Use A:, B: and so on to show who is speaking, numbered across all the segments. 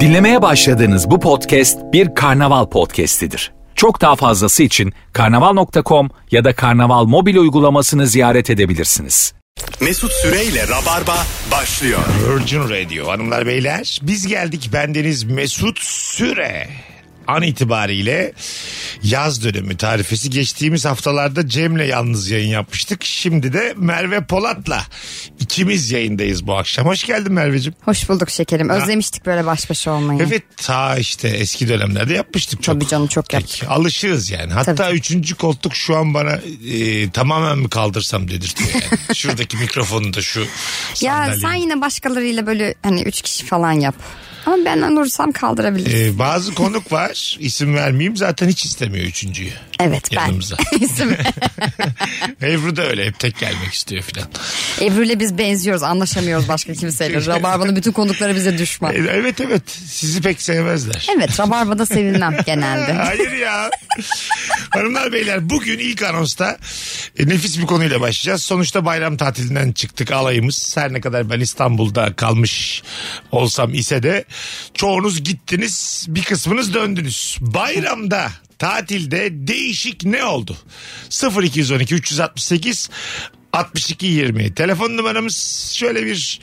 A: Dinlemeye başladığınız bu podcast bir karnaval podcastidir. Çok daha fazlası için karnaval.com ya da karnaval mobil uygulamasını ziyaret edebilirsiniz.
B: Mesut Süreyle Rabarba başlıyor.
C: Virgin Radio hanımlar beyler biz geldik bendeniz Mesut Süre an itibariyle yaz dönemi tarifesi geçtiğimiz haftalarda Cem'le yalnız yayın yapmıştık. Şimdi de Merve Polat'la ikimiz yayındayız bu akşam. Hoş geldin Merveciğim.
D: Hoş bulduk şekerim. Özlemiştik böyle baş başa olmayı.
C: Evet ta işte eski dönemlerde yapmıştık çok.
D: Tabii canım, çok yaptık.
C: Peki, Alışığız yani. Hatta
D: Tabii.
C: üçüncü koltuk şu an bana e, tamamen mi kaldırsam dedirtiyor yani. Şuradaki mikrofonu da şu
D: Ya
C: sandalyeyi.
D: sen yine başkalarıyla böyle hani üç kişi falan yap. Ama ben olursam kaldırabilirim.
C: Ee, bazı konuk var isim vermeyeyim zaten hiç istemiyor üçüncüyü.
D: evet ben.
C: yanımıza.
D: İsim-
C: Ebru da öyle hep tek gelmek istiyor filan.
D: Ebru'yle biz benziyoruz anlaşamıyoruz başka kimseyle. Rabarba'nın bütün konukları bize
C: E,
D: düşman.
C: Evet evet sizi pek sevmezler.
D: Evet Rabarba'da sevilmem genelde.
C: Hayır ya. Hanımlar beyler bugün ilk anonsta e, nefis bir konuyla başlayacağız. Sonuçta bayram tatilinden çıktık alayımız. Her ne kadar ben İstanbul'da kalmış olsam ise de çoğunuz gittiniz bir kısmınız döndünüz. Bayramda tatilde değişik ne oldu? 0212 368 62 20 telefon numaramız şöyle bir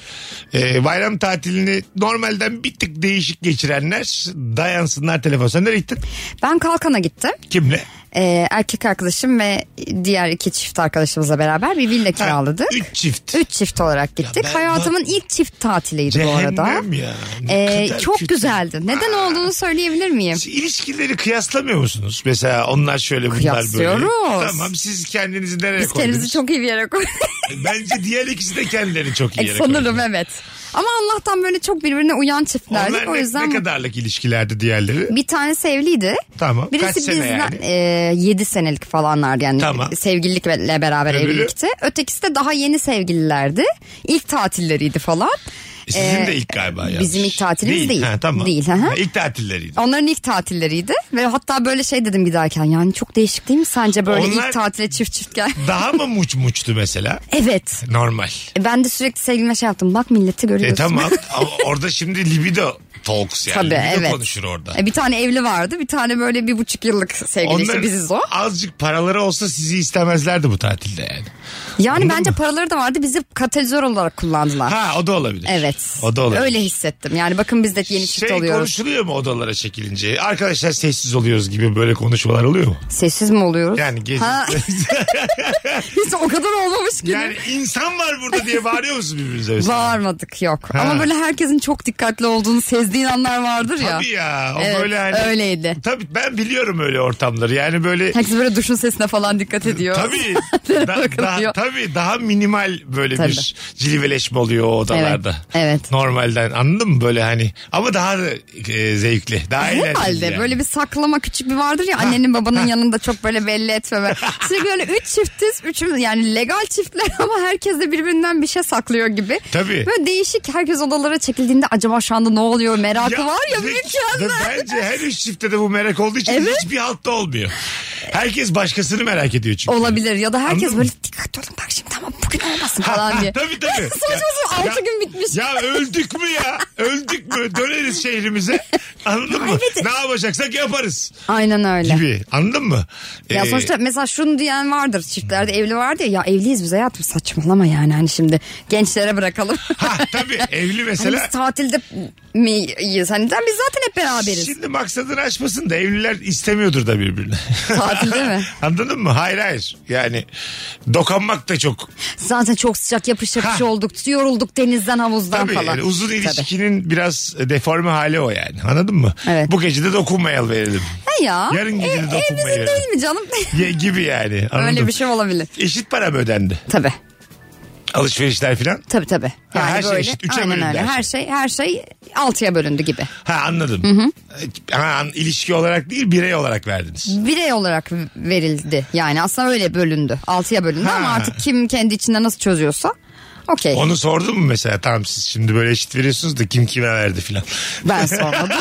C: e, bayram tatilini normalden bir tık değişik geçirenler dayansınlar telefon sen nereye gittin
D: Ben Kalkan'a gittim.
C: kimle
D: Ee, erkek arkadaşım ve diğer iki çift arkadaşımızla beraber bir villa kiraladık.
C: 3 çift
D: Üç çift olarak gittik.
C: ben-
D: Hayatımın ilk çift tatiliydi bu arada.
C: cehennem ya Ne
D: Ee,
C: kadar
D: çok
C: kötü.
D: güzeldi. Neden olduğunu söyleyebilir miyim?
C: İlişkileri kıyaslamıyor musunuz? Mesela onlar şöyle bunlar böyle.
D: Kıyaslıyoruz.
C: Tamam siz kendinizi nereye
D: Biz
C: koydunuz? E,
D: kendimizi çok iyi bir yere koyduk.
C: Bence diğer ikisi de kendilerini çok iyi
D: E,
C: yere
D: Sanırım
C: koydu.
D: evet. Ama Allah'tan böyle çok birbirine uyan çiftlerdik.
C: Onlar
D: O
C: ne,
D: yüzden
C: ne kadarlık ilişkilerdi diğerleri?
D: bir tanesi evliydi.
C: Tamam.
D: Birisi
C: Kaç sene
D: bizden
C: yani? E,
D: 7 senelik falanlardı yani
C: Tamam.
D: sevgililikle beraber
C: Öbürü?
D: evlilikti. Ötekisi de daha yeni sevgililerdi. İlk tatilleriydi falan.
C: Sizin
D: Ee,
C: de ilk galiba yanlış.
D: bizim ilk tatilimiz değil.
C: Ha, tamam.
D: Değil, hı hı.
C: Ha, İlk tatilleriydi.
D: Onların ilk tatilleriydi ve hatta böyle şey dedim giderken yani çok değişik değil mi sence böyle
C: Onlar-
D: ilk tatile çift çift gel.
C: Daha mı muç muçtu mesela?
D: evet.
C: Normal.
D: E, Ben de sürekli sevgilime şey yaptım. Bak milleti görüyorsun.
C: E tamam ama orada şimdi libido talks yani.
D: Tabii
C: libido
D: evet.
C: konuşur orada.
D: E, Bir tane evli vardı bir tane böyle bir buçuk yıllık sevgili işte
C: Onların
D: biziz o.
C: azıcık paraları olsa sizi istemezlerdi bu tatilde yani.
D: Yani bence paraları da vardı bizi katalizör olarak kullandılar.
C: Ha o da olabilir.
D: Ah, Evet.
C: O da olabilir.
D: Öyle hissettim. Yani bakın biz de yeni çift
C: şey
D: oluyoruz.
C: konuşuluyor mu odalara çekilince? Arkadaşlar sessiz oluyoruz gibi böyle konuşmalar oluyor mu?
D: Sessiz mi oluyoruz?
C: Yani gece...
D: Ha. Hiç o kadar olmamış ki.
C: yani insan var burada diye bağırıyor musun birbirinize? mesela?
D: Bağırmadık yok.
C: Ha.
D: Ama böyle herkesin çok dikkatli olduğunu sezdiğin anlar vardır ya.
C: Tabii ya. O
D: Evet,
C: böyle hani...
D: öyleydi.
C: Tabii ben biliyorum öyle ortamları. Yani böyle
D: Herkes böyle duşun sesine falan dikkat ediyor.
C: Tabii.
D: Saatleri
C: da, daha,
D: bakılıyor.
C: tabii daha minimal böyle
D: Tabii.
C: bir cilveleşme oluyor o odalarda.
D: Evet, evet.
C: Normalden anladın mı böyle hani ama daha da e, zevkli. Daha eğlenceli.
D: Herhalde
C: yani.
D: böyle bir saklama küçük bir vardır ya annenin babanın yanında çok böyle belli etmeme. Sürekli böyle üç çiftiz üçümüz yani legal çiftler ama herkes de birbirinden bir şey saklıyor gibi.
C: Tabii.
D: Böyle değişik herkes odalara çekildiğinde acaba şu anda ne oluyor merakı var ya
C: ve-
D: mükemmel.
C: ve Bence her üç çiftte de bu merak olduğu için
D: Evet.
C: hiçbir altta olmuyor. Herkes başkasını merak ediyor çünkü.
D: Olabilir ya da herkes
C: Anladın mı?
D: böyle dikkatli olun bak şimdi tamam bugün olmasın falan diye.
C: tabii tabii.
D: Saçma sapan altı gün bitmiş.
C: Ya öldük mü ya? Öldük mü? Döneriz şehrimize. Anladın mı? Ne yapacaksak yaparız
D: Aynen öyle.
C: gibi. Anladın mı?
D: Ya
C: Ee,
D: sonuçta mesela şunu diyen vardır çiftlerde evli vardı ya ya evliyiz biz hayatım saçmalama yani hani şimdi gençlere bırakalım.
C: Ha Ah, tabii evli
D: Hani
C: mesela.
D: biz tatilde miyiz? Hani zaten- biz zaten hep beraberiz.
C: Şimdi maksadını aşmasın da evliler istemiyordur da birbirini.
D: Tatilde mi?
C: Anladın mı? Hayır hayır. Yani dokanmak da çok
D: Zaten çok sıcak yapış yapış
C: Ha.
D: olduk. Yorulduk denizden havuzdan
C: Tabii
D: falan.
C: yani uzun
D: Tabii.
C: ilişkinin biraz deforme hali o yani. Anladın mı?
D: Evet.
C: Bu gece de dokunmayalım verelim.
D: He ya.
C: Yarın gece de
D: E, e,
C: dokunma
D: bizim
C: yani.
D: değil mi canım?
C: Ye, gibi yani. Anladın
D: Öyle
C: mı?
D: bir şey olabilir.
C: Eşit para mı ödendi?
D: Tabii.
C: Alışverişler filan.
D: Tabii tabii.
C: Ha,
D: Yani
C: her şey
D: böyle.
C: eşit, üçe
D: aynen
C: bölündü
D: öyle.
C: her
D: Her şey her şey altıya bölündü gibi.
C: Ha anladım. Ha, an- ilişki olarak değil birey olarak verdiniz.
D: Birey olarak verildi. Yani aslında öyle bölündü. Altıya bölündü ama
C: Ha.
D: artık kim kendi içinde nasıl çözüyorsa okey.
C: Onu sordun mu mesela? Tamam siz şimdi böyle eşit veriyorsunuz da kim kime verdi filan.
D: Ben sormadım.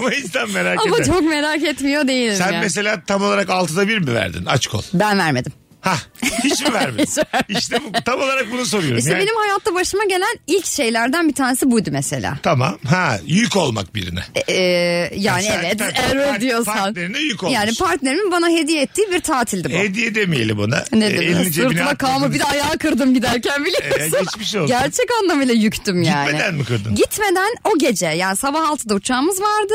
C: Ama insan merak
D: ama
C: eder.
D: çok merak etmiyor değilim
C: Sen
D: yani.
C: mesela tam olarak altıda bir mi verdin? Aç kol.
D: Ben vermedim.
C: Ha hiç mi vermedin? işte bu, tam olarak bunu soruyorum.
D: İşte
C: Yani-
D: benim E, hayatta başıma gelen ilk şeylerden bir tanesi buydu mesela.
C: Tamam. Ha yük olmak birine.
D: Ee, yani
C: Sen-
D: evet
C: sen-
D: evet
C: part-
D: diyorsan.
C: partnerine yük olmuş.
D: Yani partnerimin bana hediye ettiği bir tatildi bu.
C: E, Hediye demeyelim ona.
D: ne
C: E,
D: demek? Sırtıma kalma
C: atmadınız.
D: bir de ayağı kırdım giderken biliyor
C: E,
D: musun?
C: geçmiş olsun.
D: Gerçek anlamıyla yüktüm yani.
C: Gitmeden mi kırdın?
D: Gitmeden o gece yani sabah 6'da uçağımız vardı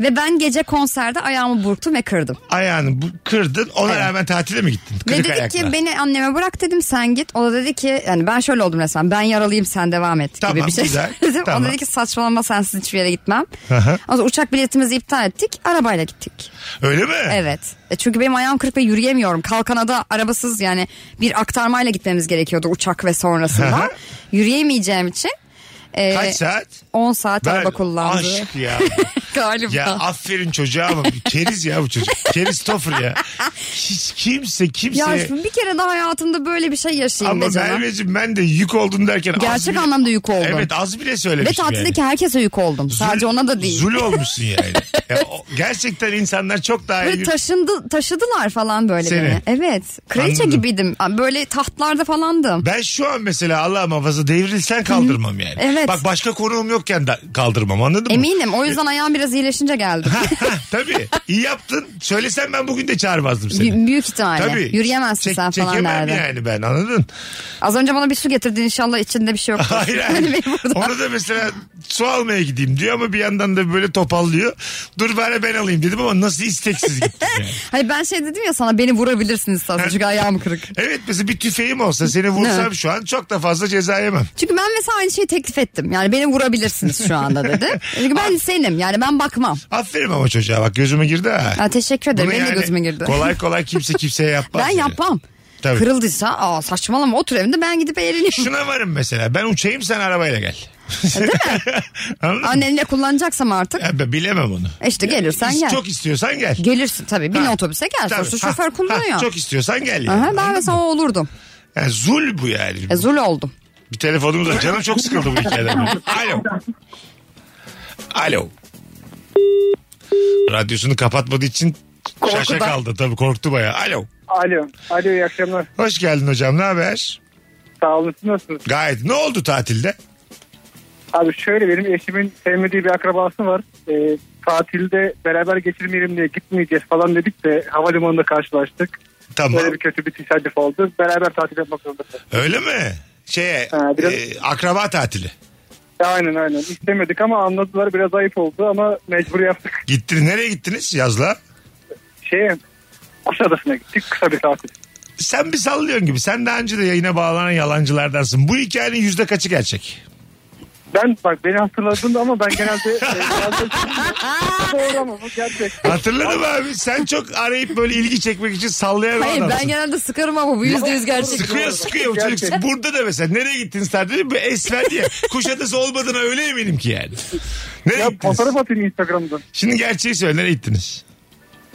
D: ve ben gece konserde ayağımı burktum ve kırdım.
C: Ayağını bu, kırdın ona
D: Evet.
C: rağmen tatile mi gittin?
D: Ve
C: Kırık
D: dedi
C: ayakla.
D: ki beni anneme bırak dedim sen git. O da dedi ki yani ben şöyle oldum resmen ben yaralıyım sen devam et
C: Tamam,
D: gibi bir şey.
C: güzel,
D: söyledim. O
C: tamam.
D: da dedi ki saçmalama sensiz hiçbir yere gitmem.
C: Aha.
D: O zaman uçak biletimizi iptal ettik arabayla gittik.
C: Öyle mi?
D: Evet. E çünkü benim ayağım kırık ve yürüyemiyorum. Kalkanada arabasız yani bir aktarmayla gitmemiz gerekiyordu uçak ve sonrasında. Yürüyemeyeceğim için. e,
C: Kaç saat?
D: 10 saat
C: Ben-
D: araba kullandı.
C: Aşk ya.
D: Galiba.
C: Ya aferin çocuğa ama bir keriz ya bu çocuk. Keristofer ya. Hiç kimse
D: Ya
C: kimseye.
D: şimdi bir kere daha hayatımda böyle bir şey yaşayayım
C: şey- ama
D: be canım.
C: Merveciğim ben de yük oldum derken. az
D: Gerçek
C: bile-
D: anlamda yük oldum.
C: Evet az bile
D: Ve
C: söylemiştim yani.
D: tatildeki herkese yük oldum. Sadece
C: Zul-
D: ona da değil.
C: Zul olmuşsun yani. Ya o- gerçekten insanlar çok daha
D: Böyle
C: iyi.
D: taşındı, taşıdılar falan böyle
C: Seni.
D: beni. Evet. Kraliçe
C: Anladım.
D: gibiydim. Böyle tahtlarda falandım.
C: Ben şu an mesela Allah muhafaza devrilsen kaldırmam yani.
D: Evet.
C: Bak başka konuğum yokken da kaldırmam anladın mı?
D: Eminim. O yüzden ayağım biraz iyileşince geldi.
C: Tabii iyi yaptın. Söylesen ben bugün de çağırmazdım seni.
D: B- büyük ihtimalle.
C: Tabii.
D: Yürüyemezsin
C: Çek-
D: sen falan
C: Çekemem
D: derdi.
C: yani ben anladın?
D: Az önce bana bir su getirdin inşallah içinde bir şey yoktur.
C: Hayır
D: Hani
C: hayır.
D: beni burada-
C: Onu da mesela su almaya gideyim diyor ama bir yandan da böyle topallıyor. Dur bari ben alayım dedim ama nasıl isteksiz gittim yani.
D: Hani ben şey dedim ya sana beni vurabilirsiniz aslında çünkü ayağım kırık.
C: Evet mesela bir tüfeğim olsa seni vursam
D: Evet.
C: şu an çok da fazla ceza yemem.
D: Çünkü ben mesela aynı şeyi teklif ettim. Yani beni vurabilirsiniz şu anda dedi. Çünkü ben senim yani ben bakmam.
C: Aferin ama çocuğa bak gözüme girdi ha.
D: Ya teşekkür ederim.
C: Bunu
D: Benim de
C: yani
D: gözüme girdi.
C: Kolay kolay kimse kimseye yapmaz.
D: ben
C: yani.
D: yapmam.
C: Tabii.
D: Kırıldıysa aa saçmalama otur evinde ben gidip eğleneyim.
C: Şuna varım mesela ben uçayım sen arabayla gel.
D: E,
C: Anladın mı?
D: Annenle kullanacaksam artık
C: Ya ben bilemem onu.
D: e işte gelirsen gel.
C: Çok istiyorsan gel.
D: Gelirsin tabii. Bin
C: Ha.
D: otobüse gel.
C: Tabii.
D: Sonuçta
C: Ha,
D: şoför
C: ha,
D: kullanıyor.
C: çok istiyorsan gel. Yani.
D: Aha, ben mesela o olurdum.
C: Yani zul bu yani.
D: E, zul oldum.
C: Bir telefonumuz var. Canım çok sıkıldı bu hikayeden. Alo. Alo. Radyosunu kapatmadığı için şaşa
E: Korkudan.
C: kaldı. Tabii korktu bayağı. Alo.
E: Alo. Alo iyi akşamlar.
C: Hoş geldin hocam. Ne haber?
E: Sağ olun. siz Nasılsınız?
C: Gayet. Ne oldu tatilde?
E: Abi şöyle benim eşimin sevmediği bir akrabası var. Ee, tatilde beraber geçirmeyelim diye gitmeyeceğiz falan dedik de havalimanında karşılaştık.
C: Tamam.
E: Böyle bir kötü bir tesadüf oldu. Beraber tatil yapmak zorunda kaldık.
C: Öyle mi? Şeye,
E: Ha, biraz-
C: e, akraba tatili.
E: Ya Aynen aynen. İstemedik ama anladılar biraz ayıp oldu ama mecbur yaptık.
C: Gittiniz nereye gittiniz yazla?
E: Şeye Kuşadası'na gittik kısa bir tatil.
C: Sen bir sallıyorsun gibi. Sen daha önce de yayına bağlanan yalancılardansın. Bu hikayenin yüzde kaçı gerçek?
E: Ben bak beni hatırladın ama ben genelde e, genelde- doğru ama bu gerçek.
C: Hatırladın mı abi? Sen çok arayıp böyle ilgi çekmek için sallayan bir
D: Hayır ben
C: adamsın.
D: genelde sıkarım ama bu yüzde yüz gerçek.
C: Sıkıyor sıkıyor.
E: Gerçek.
C: Çocuk burada da mesela nereye gittiniz tatilde? Bu esmer diye. Kuşadası olmadığına öyle eminim ki yani. Nereye
E: Ya
C: gittiniz?
E: fotoğraf atayım Instagram'dan.
C: Şimdi gerçeği söyle nereye gittiniz?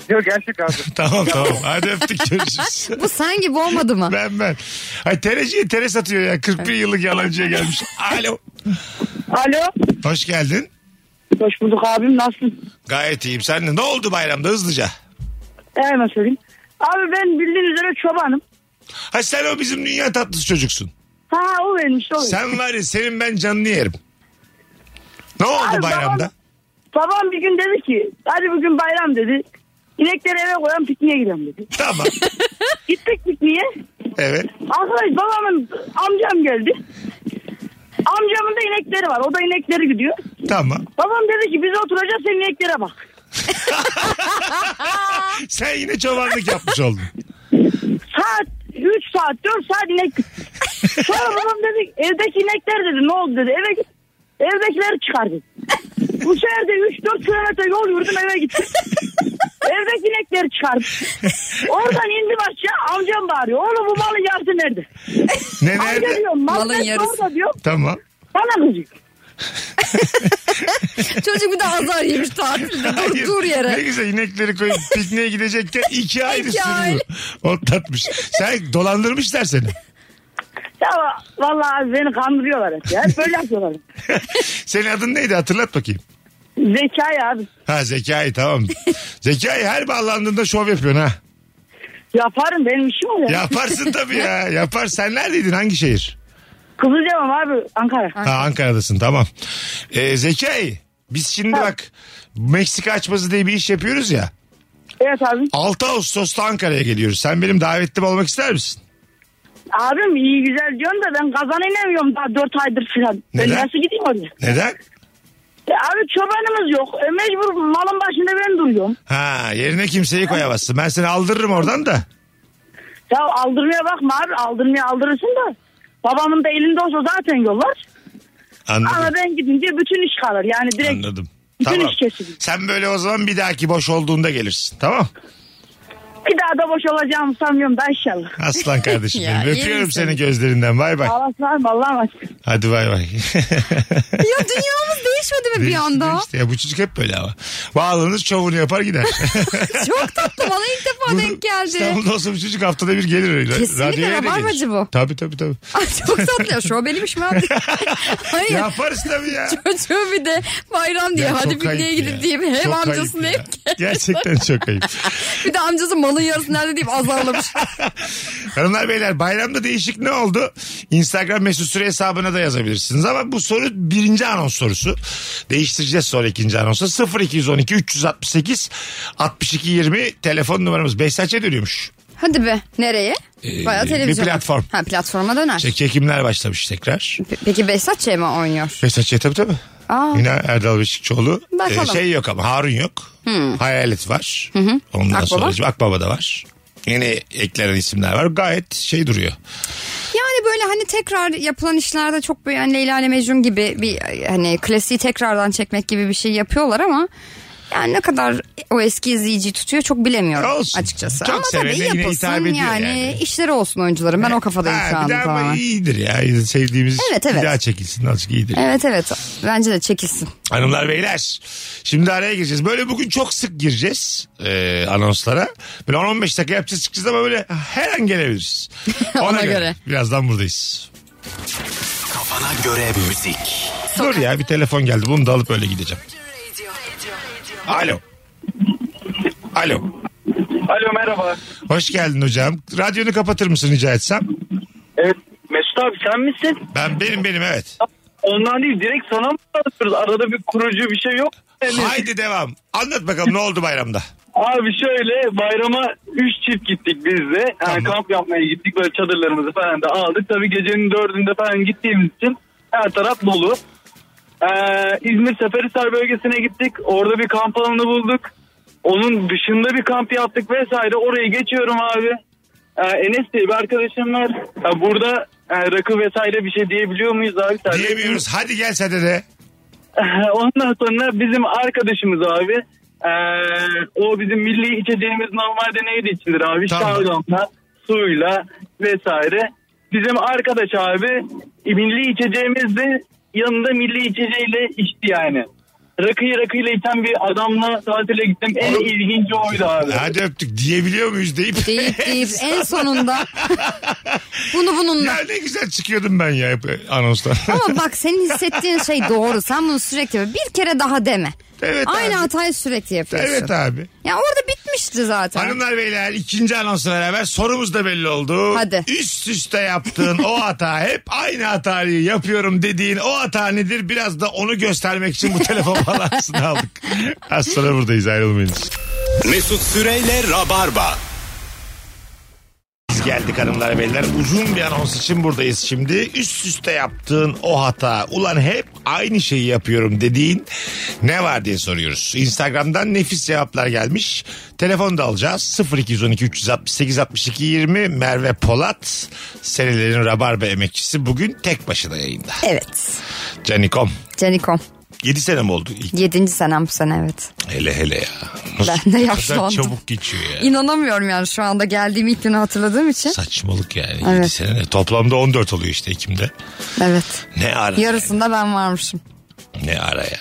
E: Yok gerçek abi.
C: Tamam tamam. Hadi öptük görüşürüz.
D: Bu sen gibi olmadı mı?
C: ben ben. Ay tereciye tere satıyor ya. 41 yıllık yalancıya gelmiş. Alo.
F: Alo.
C: Hoş geldin.
F: Hoş bulduk abim. Nasılsın?
C: Gayet iyiyim. Sen de ne oldu bayramda hızlıca?
F: Hemen söyleyeyim. Abi ben bildiğin üzere çobanım.
C: Ha sen o bizim dünya tatlısı çocuksun.
F: Ha o benim işte o benim.
C: Sen var ya senin ben canını yerim. Ne oldu
F: Abi,
C: bayramda?
F: babam- Babam bir gün dedi ki hadi bugün bayram dedi. İnekleri eve koyan pikniğe gidelim dedi.
C: Tamam.
F: Gittik pikniğe.
C: Evet.
F: Arkadaş babamın amcam geldi. Amcamın da inekleri var. O da inekleri gidiyor.
C: Tamam.
F: Babam dedi ki biz oturacağız sen ineklere bak.
C: Sen yine çobanlık yapmış oldun.
F: Saat 3 saat 4 saat inek Sonra babam dedi evdeki inekler dedi ne oldu dedi eve git. Evdekileri çıkardı. Bu sefer de 3-4 kilometre yol yürüdüm eve gittim. Evdeki inekleri çıkardı. Oradan indim aşağı amcam bağırıyor. Oğlum bu malın yarısı nerede?
C: Ne
F: Amca
C: nerede?
F: diyor
D: Malın
F: malın
D: yarısı.
F: yarısı. orada diyor.
C: Tamam.
F: Bana kızıyor.
D: Çocuk bir de azar yemiş tatilde. Dur,
C: Hayır,
D: dur
C: Ne
D: yere.
C: güzel inekleri koyup pikniğe gidecekken iki ayrı
D: İki
C: sürü
D: ayrı.
C: otlatmış. Sen dolandırmışlar seni.
F: Ya vallahi beni kandırıyorlar hep ya. Böyle yapıyorlar.
C: Senin adın neydi hatırlat bakayım.
F: Zekai abi.
C: Ha Zekai tamam. Zekai her bağlandığında şov yapıyorsun ha.
F: Yaparım benim işim o ya.
C: Yaparsın tabii ya. Yapar. Sen neredeydin? Hangi şehir?
F: Kızılcamam abi Ankara.
C: Ha, Ankara'dasın tamam. Ee, Zekai biz şimdi
F: Ha.
C: bak Meksika açması diye bir iş yapıyoruz ya.
F: Evet abi.
C: 6 Ağustos'ta Ankara'ya geliyoruz. Sen benim davetlim olmak ister misin?
F: Abim iyi güzel diyorsun da ben kazana inemiyorum daha 4 aydır falan. Ben
C: Neden?
F: nasıl gideyim oraya?
C: Neden?
F: E abi çobanımız yok. E mecbur malın başında ben duruyorum.
C: Ha yerine kimseyi koyamazsın. Ben seni aldırırım oradan da.
F: Ya aldırmaya bakma abi. Aldırmaya aldırırsın da. Babamın da elinde olsa zaten yollar. Ama
C: Anladım.
F: ben gidince bütün iş kalır. Yani direkt
C: Anladım.
F: bütün
C: Tamam.
F: iş kesilir.
C: Sen böyle o zaman bir dahaki boş olduğunda gelirsin. Tamam.
F: Bir daha da boş olacağımı sanmıyorum da inşallah.
C: Aslan kardeşim
D: Ya,
C: benim.
D: iyi
C: Öpüyorum
D: misin?
C: seni gözlerinden. Bay bay.
F: Allah'ım var mı? Allah'ım açık.
C: Hadi bay bay.
D: Ya dünyamız değişmedi mi bir
C: Değişti,
D: anda?
C: değişti. Ya bu çocuk hep böyle ama. Bağlanır çovunu yapar gider.
D: Çok tatlı bana ilk defa denk geldi.
C: İstanbul'da olsa bu çocuk haftada bir gelir. öyle.
D: Kesinlikle
C: Radyoya da
D: rabarbacı
C: gelir.
D: bu.
C: Tabii tabii tabii.
D: Ay çok tatlı ya şobeniymiş mi abi? Hayır.
C: Yaparız tabii ya.
D: Çocuğu bir de bayram diye
C: Ya çok
D: hadi pikniğe
C: ayıp
D: gidin
C: ya.
D: diye hem
C: Çok
D: amcasını
C: ayıp
D: hem
C: ya. Gerçekten çok ayıp.
D: bir de amcası malın yarısı nerede deyip azarlamış.
C: Hanımlar beyler bayramda değişik ne oldu? Instagram mesut süre hesabına da yazabilirsiniz. Ama bu soru birinci anons sorusu. Değiştireceğiz sonra ikinci anonsu. 0212 368 62 20 telefon numaramız. Behzatçı'ya dönüyormuş.
D: hadi be nereye?
C: Ee,
D: Bayağı
C: bir
D: televizyon.
C: platform.
D: Ha platforma döner.
C: İşte çekimler başlamış tekrar.
D: Pe- Peki Behzat Ç. mi oynuyor?
C: Behzatçı'ya tabii tabii.
D: Aa.
C: Yine Erdal Beşikçioğlu.
D: Bakalım. Hmm.
C: Ee, şey yok ama Harun yok. Hayalet var. Ondan
D: Akbaba.
C: sonra Akbaba da var. Yeni eklenen isimler var. Gayet şey duruyor.
D: Yani böyle hani tekrar yapılan işlerde çok böyle hani Leyla ile Mecnun gibi bir hani klasiği tekrardan çekmek gibi bir şey yapıyorlar ama yani ne kadar o eski izleyiciyi tutuyor çok bilemiyorum
C: Olsun.
D: açıkçası.
C: Çok
D: ama tabii
C: sevene yine
D: yapılsın
C: hitap ediyor
D: yani,
C: yani.
D: işleri olsun oyuncuların ben o kafadayım
C: Ha,
D: şu
C: bir
D: anda
C: daha ama
D: tamamen.
C: iyidir ya. Sevdiğimiz
D: Evet,
C: bir
D: evet.
C: daha çekilsin. Azıcık iyidir.
D: Evet evet bence de çekilsin.
C: Hanımlar beyler şimdi araya gireceğiz. Böyle bugün çok sık gireceğiz e, anonslara. Böyle 10-15 dakika yapacağız çıkacağız ama böyle her an gelebiliriz. Ona,
D: Ona
C: göre.
D: göre.
C: Birazdan buradayız.
B: Kafana göre müzik.
C: Dur ya bir telefon geldi bunu da alıp öyle gideceğim. Alo. Alo.
E: Alo merhaba.
C: Hoş geldin hocam. Radyonu kapatır mısın rica etsem?
E: Evet Mesut abi sen misin?
C: Ben benim benim evet.
E: Ondan değil direkt sana mı anlatıyoruz? Arada bir kurucu bir şey yok. Yani-
C: Haydi devam. Anlat bakalım ne oldu bayramda?
E: Abi şöyle bayrama 3 çift gittik biz de.
C: Tamam.
E: Yani kamp yapmaya gittik böyle çadırlarımızı falan da aldık. Tabii gecenin dördünde falan gittiğimiz için her taraf dolu. Ee, İzmir Seferisar bölgesine gittik. Orada bir kamp alanı bulduk. Onun dışında bir kamp yaptık vesaire. Orayı geçiyorum abi. Ee, Enes diye bir arkadaşım var. Ee, burada e, rakı vesaire bir şey diyebiliyor muyuz abi? Serbest miyiz?
C: Diyemiyoruz. Hadi gel sen de de.
E: Ondan sonra bizim arkadaşımız abi. eee, o bizim milli içeceğimiz normalde neydi içilir abi?
C: Tamam.
E: Şalgamla, suyla vesaire. Bizim arkadaş abi e, milli içeceğimiz de yanında milli içeceğiyle içti yani. Rakıyı rakıyla içen bir adamla tatile gittim. En
C: Oğlum.
E: ilginci oydu abi.
C: Hadi öptük. Diyebiliyor muyuz deyip.
D: Deyip deyip en sonunda bunu bununla.
C: Ya ne güzel çıkıyordum ben ya hep anonsta.
D: Ama bak senin hissettiğin şey doğru. Sen bunu sürekli bir kere daha deme.
C: Evet
D: Aynı
C: abi.
D: hatayı sürekli yapıyorsun.
C: Evet abi.
D: Ya orada bitmişti zaten.
C: Hanımlar beyler ikinci anonsla beraber sorumuz da belli oldu.
D: Hadi.
C: Üst üste yaptığın o hata hep aynı hatayı yapıyorum dediğin o hata nedir? Biraz da onu göstermek için bu telefon balansını aldık. Az sonra buradayız ayrılmayınız.
B: Mesut Süreyle Rabarba.
C: Biz geldik hanımlar beyler. Uzun bir anons için buradayız şimdi. Üst üste yaptığın o hata. Ulan hep aynı şeyi yapıyorum dediğin ne var diye soruyoruz. Instagram'dan nefis cevaplar gelmiş. Telefon da alacağız. 0212 368 62 20 Merve Polat. Senelerin Rabarba emekçisi. Bugün tek başına yayında.
D: Evet.
C: Canikom.
D: Canikom.
C: 7 sene mi oldu? ilk?
D: Yedinci senem bu sene evet.
C: Hele hele ya.
D: Ben de
C: ne kadar
D: yaşlandım.
C: Çabuk geçiyor ya.
D: İnanamıyorum yani şu anda geldiğim ilk günü hatırladığım için.
C: Saçmalık yani.
D: Evet.
C: 7 sene. Toplamda 14 oluyor işte Ekim'de.
D: Evet.
C: Ne ara.
D: Yarısında ben varmışım.
C: Ne ara ya.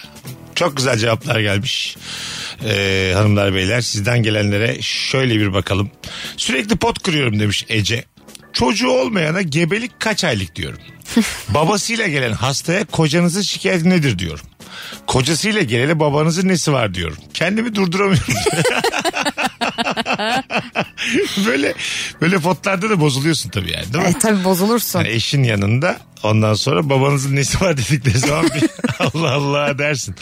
C: Çok güzel cevaplar gelmiş. Ee, hanımlar beyler sizden gelenlere şöyle bir bakalım. Sürekli pot kırıyorum demiş Ece. Çocuğu olmayana gebelik kaç aylık diyorum. Babasıyla gelen hastaya kocanızın şikayeti nedir diyorum. Kocasıyla geleli babanızın nesi var diyorum. Kendimi durduramıyorum. böyle böyle fotlarda da bozuluyorsun tabii yani değil mi?
D: E, tabii bozulursun.
C: Yani Hani eşin yanında ondan sonra babanızın nesi var dedikleri zaman bir Allah Allah dersin.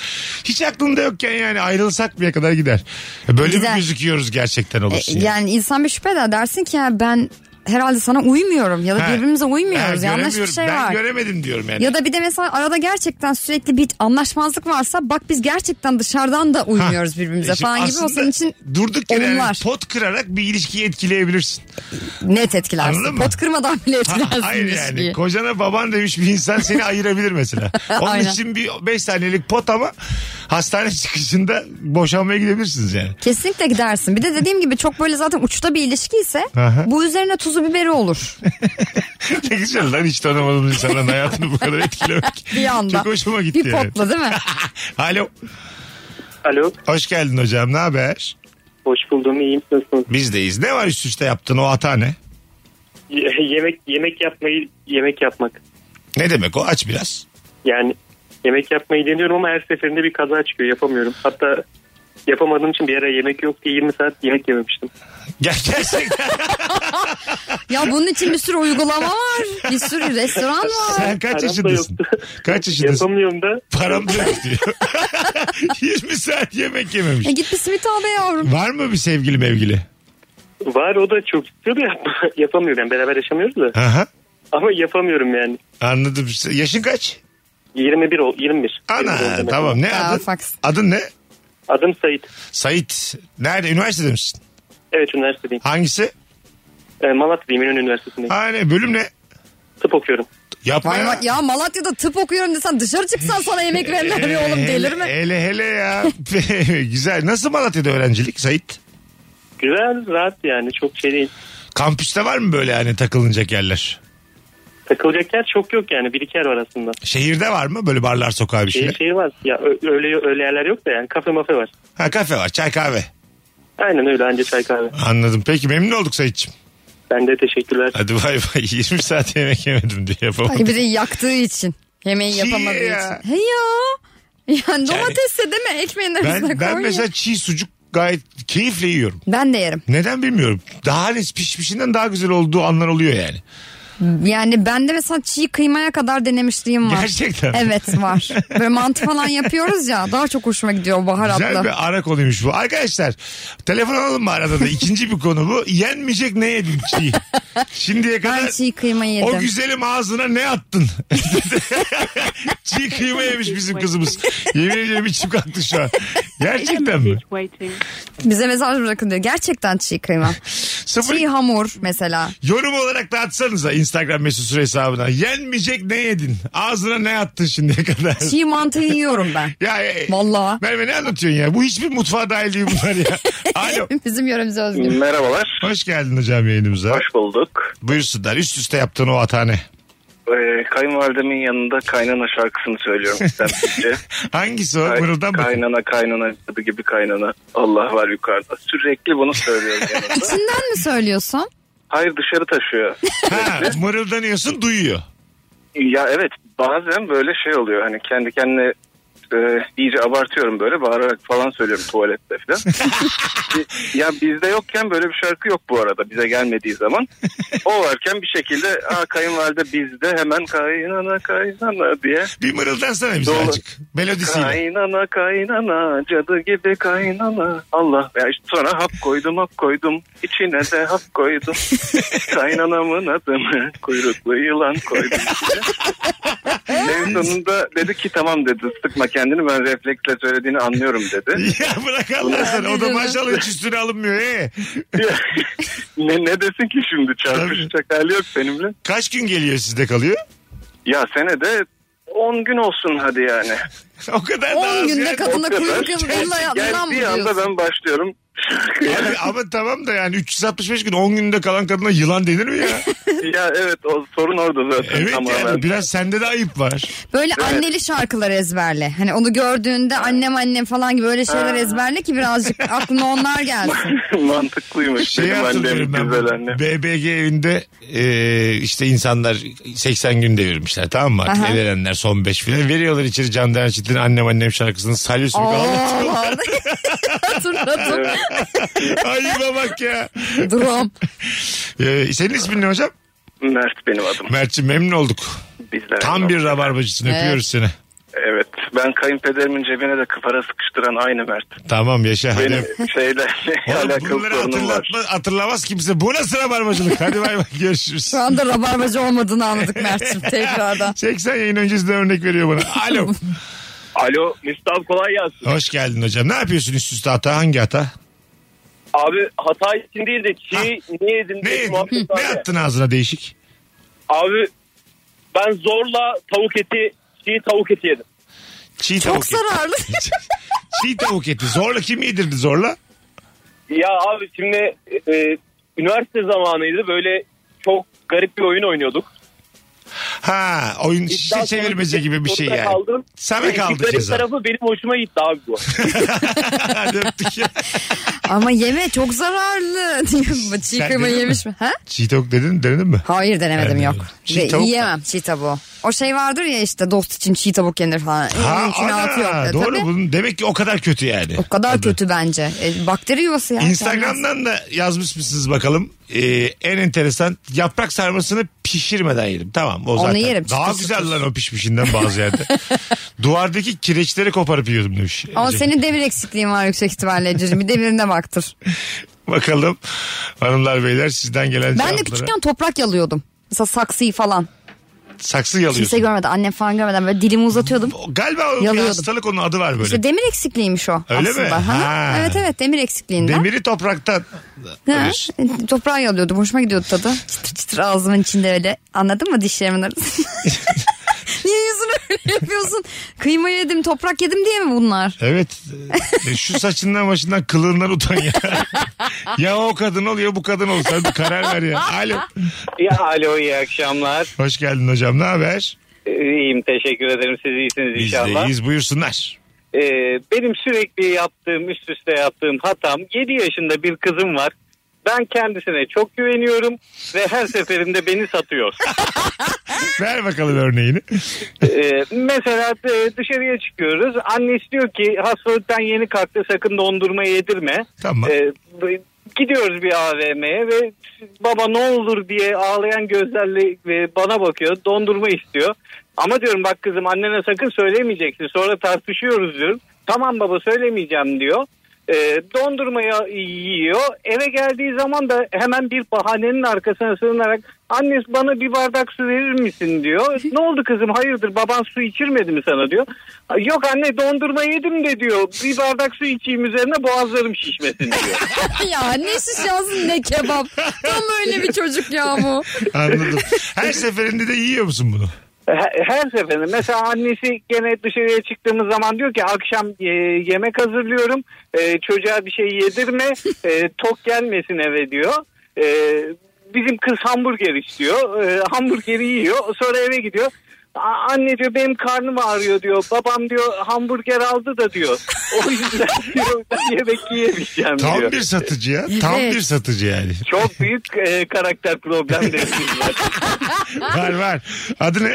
C: Hiç aklında yokken yani ayrılsak bile kadar gider. Böyle mi
D: Gider.
C: gözüküyoruz gerçekten
D: E,
C: olursun. yani.
D: yani insan bir şüphe eder. Dersin ki ya ben herhalde sana uymuyorum ya da
C: Ha.
D: birbirimize uymuyoruz.
C: Ha,
D: Yanlış bir
C: göremiyorum.
D: şey
C: ben
D: var.
C: göremedim diyorum yani.
D: Ya da bir de mesela arada gerçekten sürekli bir anlaşmazlık varsa bak biz gerçekten dışarıdan da
C: Ha.
D: uymuyoruz birbirimize
C: E şimdi
D: falan gibi o
C: aslında
D: senin için
C: durduk yere yani
D: olumlar.
C: pot kırarak bir ilişkiyi etkileyebilirsin.
D: net
C: Anladın
D: etkilersin.
C: mı?
D: Pot kırmadan bile
C: Ha,
D: etkilersin.
C: Hayır yani
D: ilişkiyi.
C: kocana baban demiş bir insan seni ayırabilir mesela. Onun
D: Aynen.
C: için bir 5 saniyelik pot ama hastane çıkışında boşanmaya gidebilirsiniz yani.
D: Kesinlikle gidersin. Bir de dediğim gibi çok böyle zaten uçta bir ilişki ise
C: Aha.
D: bu üzerine tuzu biberi olur.
C: Ne güzel lan hiç tanımadığım insanların hayatını bu kadar etkilemek.
D: Bir anda.
C: Çok hoşuma gitti
D: bir
C: yani.
D: potla değil mi?
C: Alo.
G: Alo.
C: Hoş geldin hocam ne haber?
G: Hoş buldum. İyiyim. Nasılsınız?
C: Bizdeyiz. Ne var üst üste yaptın o hata ne?
G: Ye- yemek yemek yapmayı yemek yapmak.
C: Ne demek o aç biraz.
G: Yani yemek yapmayı deniyorum ama her seferinde bir kaza çıkıyor. Yapamıyorum. Hatta yapamadığım için bir ara yemek yok diye 20 saat yemek yememiştim.
C: Ger- Gerçekten
D: ya bunun için bir sürü uygulama var. Bir sürü restoran var.
C: sen kaç
G: Param da
C: yaşındasın?
G: yoktu.
C: Kaç yaşındasın?
G: Yapamıyorum da.
C: Param da yok diyor. 20 saat yemek yememiş.
D: E git bir simit al be yavrum.
C: Var mı bir sevgili mevgili?
G: Var o da çok istiyor da yap- yapamıyorum. Yani beraber yaşamıyoruz da.
C: Aha.
G: Ama yapamıyorum yani.
C: Anladım. Yaşın kaç?
G: 21 ol 21. 21
C: Ana
G: olacağım.
C: tamam ne
D: Daha
C: adın?
D: faksın.
C: Adın ne?
G: Adım Sait.
C: Sait. Nerede? Üniversitede misin?
G: Evet üniversitedeyim.
C: Hangisi?
G: Ee, Malatya'dayım İnönü Üniversitesi'ndeyim.
C: Ha ne? Bölüm ne?
G: Tıp okuyorum.
C: Yapma
D: Vay
C: ya.
D: vay, ya Malatya'da tıp okuyorum desen dışarı çıksan sana yemek verirler ya oğlum
C: Hele-
D: delirme.
C: Ee, Hele hele ya. Güzel. Nasıl Malatya'da öğrencilik Sait?
G: Güzel rahat yani çok şey değil.
C: Kampüste var mı böyle hani takılınacak yerler?
G: Takılacak yer çok yok yani bir iki yer var aslında.
C: Şehirde var mı böyle barlar sokağı bir
G: Şehir
H: Ee,
C: şeyler?
G: şehir var. Ya ö- öyle öyle yerler yok da yani kafe mafe var.
C: Ha kafe var çay kahve.
G: Aynen öyle anca çay kahve.
C: Anladım. Peki memnun olduk Sait'cim.
G: Ben de teşekkürler.
C: Hadi bay bay. 20 saat yemek yemedim diye yapamadım.
D: Ay bir de yaktığı için. Yemeği
C: Çiğ
D: yapamadığı
C: Şey ya.
D: için. He ya. Yani domatesse deme ekmeğin arasına
C: Ben,
D: koy
C: ben
D: ya.
C: mesela çiğ sucuk gayet keyifle yiyorum.
D: Ben de yerim.
C: Neden bilmiyorum. Daha hani pişmişinden daha güzel olduğu anlar oluyor yani.
D: Yani bende mesela çiğ kıymaya kadar denemişliğim var.
C: Gerçekten mi?
D: Evet var. Böyle mantı falan yapıyoruz ya daha çok hoşuma gidiyor
C: Güzel
D: baharatlı.
C: bir ara konuymuş bu. Arkadaşlar telefon alalım mı arada da? İkinci bir konu bu. Yenmeyecek ne yedin çiğ?
D: Ben
C: Şimdiye kadar
D: çiğ kıyma yedim.
C: o güzelim ağzına ne attın? çiğ kıyma yemiş bizim kızımız. Yemin ediyorum içim kalktı şu an. Gerçekten mi?
D: Bize mesaj bırakın diyor. Gerçekten çiğ kıyma.
C: Sıfır
D: çiğ hamur mesela.
C: Yorum olarak da atsanıza Instagram mesut süre hesabına. Yenmeyecek ne yedin? Ağzına ne attın şimdiye kadar?
D: Çiğ mantıyı yiyorum ben.
C: Ya, e,
D: Vallahi.
C: Merve ne anlatıyorsun ya? Bu hiçbir mutfağa dahil değil bunlar ya. Alo.
D: Bizim yöremize özgü.
H: Merhabalar.
C: Hoş geldin hocam yayınımıza.
H: Hoş bulduk.
C: Buyursunlar. Üst üste yaptığın o hata ne?
H: Ee, kayınvalidemin yanında kaynana şarkısını söylüyorum istemsizce.
C: Hangisi o?
H: Kay-
C: Mırıldan mı?
H: kaynana kaynana adı gibi kaynana. Allah var yukarıda. Sürekli bunu söylüyorum yanında.
D: İçinden mi söylüyorsun?
H: Hayır dışarı taşıyor.
C: Ha, mırıldanıyorsun duyuyor.
H: Ya evet bazen böyle şey oluyor hani kendi kendine e, iyice abartıyorum böyle bağırarak falan söylüyorum tuvalette falan. Bi- ya bizde yokken böyle bir şarkı yok bu arada bize gelmediği zaman. O varken bir şekilde Aa, kayınvalide bizde hemen kaynana kaynana diye.
C: Bir mırıldansana bize
H: Doğru.
C: azıcık. Melodisiyle.
H: Kaynana kaynana cadı gibi kaynana Allah. Ya işte sonra hap koydum hap koydum içine de hap koydum. Kaynanamın adını kuyruklu yılan koydum. en sonunda dedi ki tamam dedi sıkma kendini ben refleksle söylediğini anlıyorum dedi.
C: Ya bırak Allah sana. O da maşallah hiç üstüne alınmıyor. Ee,
H: ne, ne desin ki şimdi çarpışacak hali yok benimle.
C: kaç gün geliyor sizde kalıyor?
H: Ya senede 10 gün olsun hadi yani.
C: O kadar da
D: 10
C: az
D: günde
C: yani.
D: kadına
H: kadar.
D: kuyruk yıldırma yaptılan mı
H: bir anda
D: diyorsun?
H: ben başlıyorum.
C: Abi ama tamam da yani 365 gün 10 günde kalan kadına yılan denir mi ya?
H: Ya evet o sorun orada zaten.
C: Evet
H: tamamen.
C: yani biraz sende de ayıp var.
D: Böyle anneli şarkılar ezberle. Hani onu gördüğünde annem annem falan gibi böyle
C: Ee.
D: şeyler ezberle ki birazcık aklına onlar gelsin.
H: Mantıklıymış.
C: Şey
H: Benim annem
C: hatırlıyorum ben.
H: güzel anne.
C: BBG evinde e, işte insanlar 80 gün devirmişler tamam mı? Artık
D: Aha.
C: Evlenenler son 5 filan. Veriyorlar içeri Can Derçit'in Annem Annem şarkısını salyosu bir
D: Oo, hatırladım.
C: Ayıba bak ya.
D: Drum.
C: Ee, senin ismin ne hocam?
H: Mert benim adım.
C: Mert'ciğim memnun olduk.
H: Bizler.
C: Tam bir rabarbacısın öpüyoruz seni.
H: Evet. Ben kayınpederimin cebine de kıpara sıkıştıran aynı Mert.
C: Tamam yaşa hadi.
H: Benim şeylerle
C: Oğlum
H: alakalı
C: bunları
H: sorunum var.
C: hatırlatma, hatırlamaz kimse. Bu nasıl rabarbacılık? Hadi bay bay görüşürüz.
D: Şu anda rabarbacı olmadığını anladık Mert'cim tekrardan.
C: 80 yayın öncesinde örnek veriyor bana. Alo.
I: Alo Müstahap kolay gelsin.
C: Hoş geldin hocam. Ne yapıyorsun üst üste hata? Hangi hata?
I: Abi hata için değil de çiğ niye yedin
C: Ne,
I: diye bir
C: yedin?
I: muhabbet var
C: ne
I: ya.
C: attın ağzına değişik?
I: Abi ben zorla tavuk eti çiğ tavuk eti yedim.
C: Çiğ
D: Çok
C: tavuk eti.
D: zararlı.
C: Çiğ tavuk eti. Zorla kim yedirdi zorla?
I: Ya abi şimdi e, üniversite zamanıydı böyle çok garip bir oyun oynuyorduk.
C: Ha oyun şişe
I: İddia
C: çevirmece
I: sonucu
C: gibi bir şey
I: zorunda
C: yani.
I: kaldım.
C: Sana kaldı
I: Garip
C: ceza.
I: tarafı benim hoşuma gitti abi bu.
C: Hadi öptük ya.
D: Ama yeme çok zararlı. çiğ
C: Sen
D: kıyma
C: denedin
D: yemiş mi? Ha?
C: Çiğ tavuk dedin denedin mi?
D: Hayır denemedim
C: Ben
D: yok.
C: denedim. Çiğ
D: Ve
C: tavuk mu?
D: yiyemem çiğ tavuğu. O şey vardır ya işte dost için çiğ tavuk yenir falan. Ha,
C: ana,
D: yok. E,
C: doğru
D: tabii.
C: bunun demek ki o kadar kötü yani.
D: O kadar
C: Adı.
D: kötü bence. E, bakteri yuvası ya. kendisi.
C: Instagram'dan da yazmış mısınız bakalım. Ee, en enteresan yaprak sarmasını pişirmeden yedim. Tamam o
D: Onu
C: zaten.
D: yerim,
C: Daha
D: çıtır
C: güzel lan o pişmişinden bazı yerde. Duvardaki kireçleri koparıp yiyordum demiş.
D: Ama
C: Ece.
D: senin devir eksikliğin var yüksek ihtimalle Ece'cim. Bir devirine baktır.
C: Bakalım hanımlar beyler sizden gelen
D: Ben de
C: cevaplara.
D: küçükken toprak yalıyordum. Mesela saksıyı falan.
C: Saksı yalıyorsun.
D: Kimse görmedi. Annem falan görmeden böyle dilimi uzatıyordum.
C: O- Galiba o bir
D: Yalıyordum.
C: hastalık onun adı var böyle.
D: İşte demir eksikliğiymiş o
C: Öyle mi?
D: aslında.
C: Ha.
D: Ha. Evet evet demir eksikliğinden.
C: Demiri topraktan
D: Ha,
C: alıyorsun.
D: toprağı yalıyordum. Hoşuma gidiyordu tadı. Çıtır çıtır ağzımın içinde öyle. Anladın mı dişlerimin arasında? Niye yüzünü öyle yapıyorsun? Kıyma yedim, toprak yedim diye mi bunlar?
C: Evet. E, Şu saçından başından kılığından utan ya. ya o kadın ol ya bu kadın ol. Sen bir karar ver ya. Alo.
E: Ya alo iyi akşamlar.
C: Hoş geldin hocam. Ne haber?
E: Ee, İyiyim teşekkür ederim. Siz iyisiniz
C: Biz
E: inşallah.
C: deyiz. Buyursunlar.
E: Ee, benim sürekli yaptığım üst üste yaptığım hatam 7 yaşında bir kızım var. Ben kendisine çok güveniyorum ve her seferinde beni satıyor.
C: Ver bakalım örneğini.
E: Ee, mesela e, dışarıya çıkıyoruz. Annesi diyor ki hastalıktan yeni kalktı sakın dondurma yedirme.
C: Tamam.
E: Ee, b- gidiyoruz bir AVM'ye ve baba ne olur diye ağlayan gözlerle e, bana bakıyor. Dondurma istiyor. Ama diyorum bak kızım annene sakın söylemeyeceksin. Sonra tartışıyoruz diyorum. Tamam baba söylemeyeceğim diyor. Ee, dondurmayı yiyor. Eve geldiği zaman da hemen bir bahanenin arkasına sığınarak annesi bana bir bardak su verir misin diyor. Ne oldu kızım hayırdır baban su içirmedi mi sana diyor. Yok anne dondurma yedim de diyor. Bir bardak su içeyim üzerine boğazlarım şişmesin diyor.
D: ya ne şiş yazın ne kebap. Tam öyle bir çocuk ya bu.
C: Anladım. Her seferinde de yiyor musun bunu?
E: Her- Her seferinde mesela annesi gene dışarıya çıktığımız zaman diyor ki akşam e, yemek hazırlıyorum E, çocuğa bir şey yedirme e, tok gelmesin eve diyor. E, bizim kız hamburger istiyor E, hamburgeri yiyor sonra eve gidiyor. "A- Anne diyor benim karnım ağrıyor diyor. Babam diyor hamburger aldı da diyor. O yüzden diyor ben yemek yiyemeyeceğim
C: Tam
E: diyor.
C: bir satıcı ya. Tam
D: Evet.
C: bir satıcı yani.
E: Çok büyük e, karakter problemleri var.
C: Var var. Adı ne?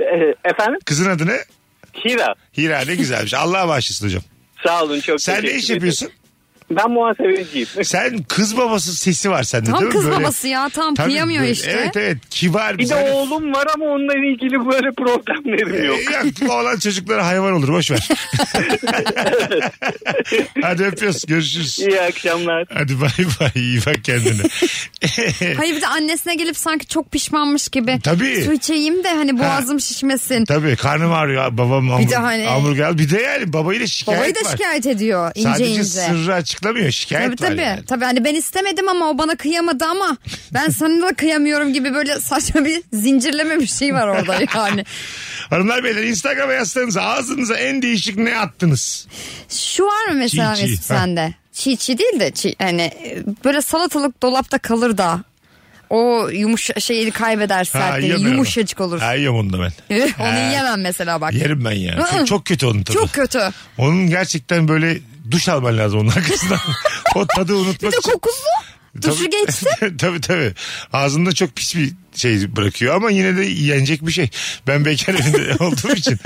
E: E, Efendim?
C: Kızın adı ne?
E: Hira.
C: Hira ne güzelmiş. Allah'a bağışlasın hocam.
E: Sağ olun çok
C: Sen ne
E: teşekkür
C: iş
E: ederim.
C: yapıyorsun?
E: Ben muhasebeciyim.
C: Sen kız babası sesi var sende
D: Tam
C: değil mi?
D: kız
C: Böyle-
D: babası ya tam
C: Tabii
D: kıyamıyor
C: böyle-
D: işte.
C: Evet evet. Kibar
E: Bir de
C: zarif.
E: oğlum var ama onunla ilgili böyle problemlerim yok.
C: Ee, Yok. Oğlan çocuklara hayvan olur boş ver. Hadi öpüyoruz görüşürüz.
E: İyi akşamlar.
C: Hadi bay bay iyi bak kendine.
D: Hayır bir de annesine gelip sanki çok pişmanmış gibi.
C: Tabii.
D: Su içeyim de hani boğazım şişmesin.
C: Tabii karnım ağrıyor babam hamburger. Bir
D: Bir de hani-
C: Bir de yani babayla şikayet
D: Babayı da
C: var.
D: şikayet ediyor ince
C: Sadece
D: ince.
C: sırrı açıklamıyor şikayet
D: Tabii
C: var
D: tabii.
C: yani.
D: Tabii hani ben istemedim ama o bana kıyamadı ama ben sana da kıyamıyorum gibi böyle saçma bir zincirleme bir şey var orada yani.
C: Hanımlar beyler Instagram'a yazsanız ağzınıza en değişik ne attınız?
D: Şu var mı mesela
C: Çiğ çiğ.
D: Mesut sende? Çiğ çiğ değil de çiğ, hani e, böyle salatalık dolapta kalır da o yumuş şeyi kaybeder sertliği.
C: yemiyorum.
D: Yumuşacık olur.
C: Ha yiyorum onu da ben.
D: Onu yiyemem mesela bak.
C: Yerim ben ya. Çok,
D: Hı.
C: çok kötü onun tadı.
D: Çok kötü.
C: Onun gerçekten böyle duş alman lazım onun arkasından. o tadı
D: Bir
C: unutmak
D: de
C: için.
D: kokusu. Duşu
C: Tabii-
D: geçti.
C: tabii tabii. Ağzında çok pis bir şey bırakıyor ama yine de yenecek bir şey. Ben bekar evinde olduğum için.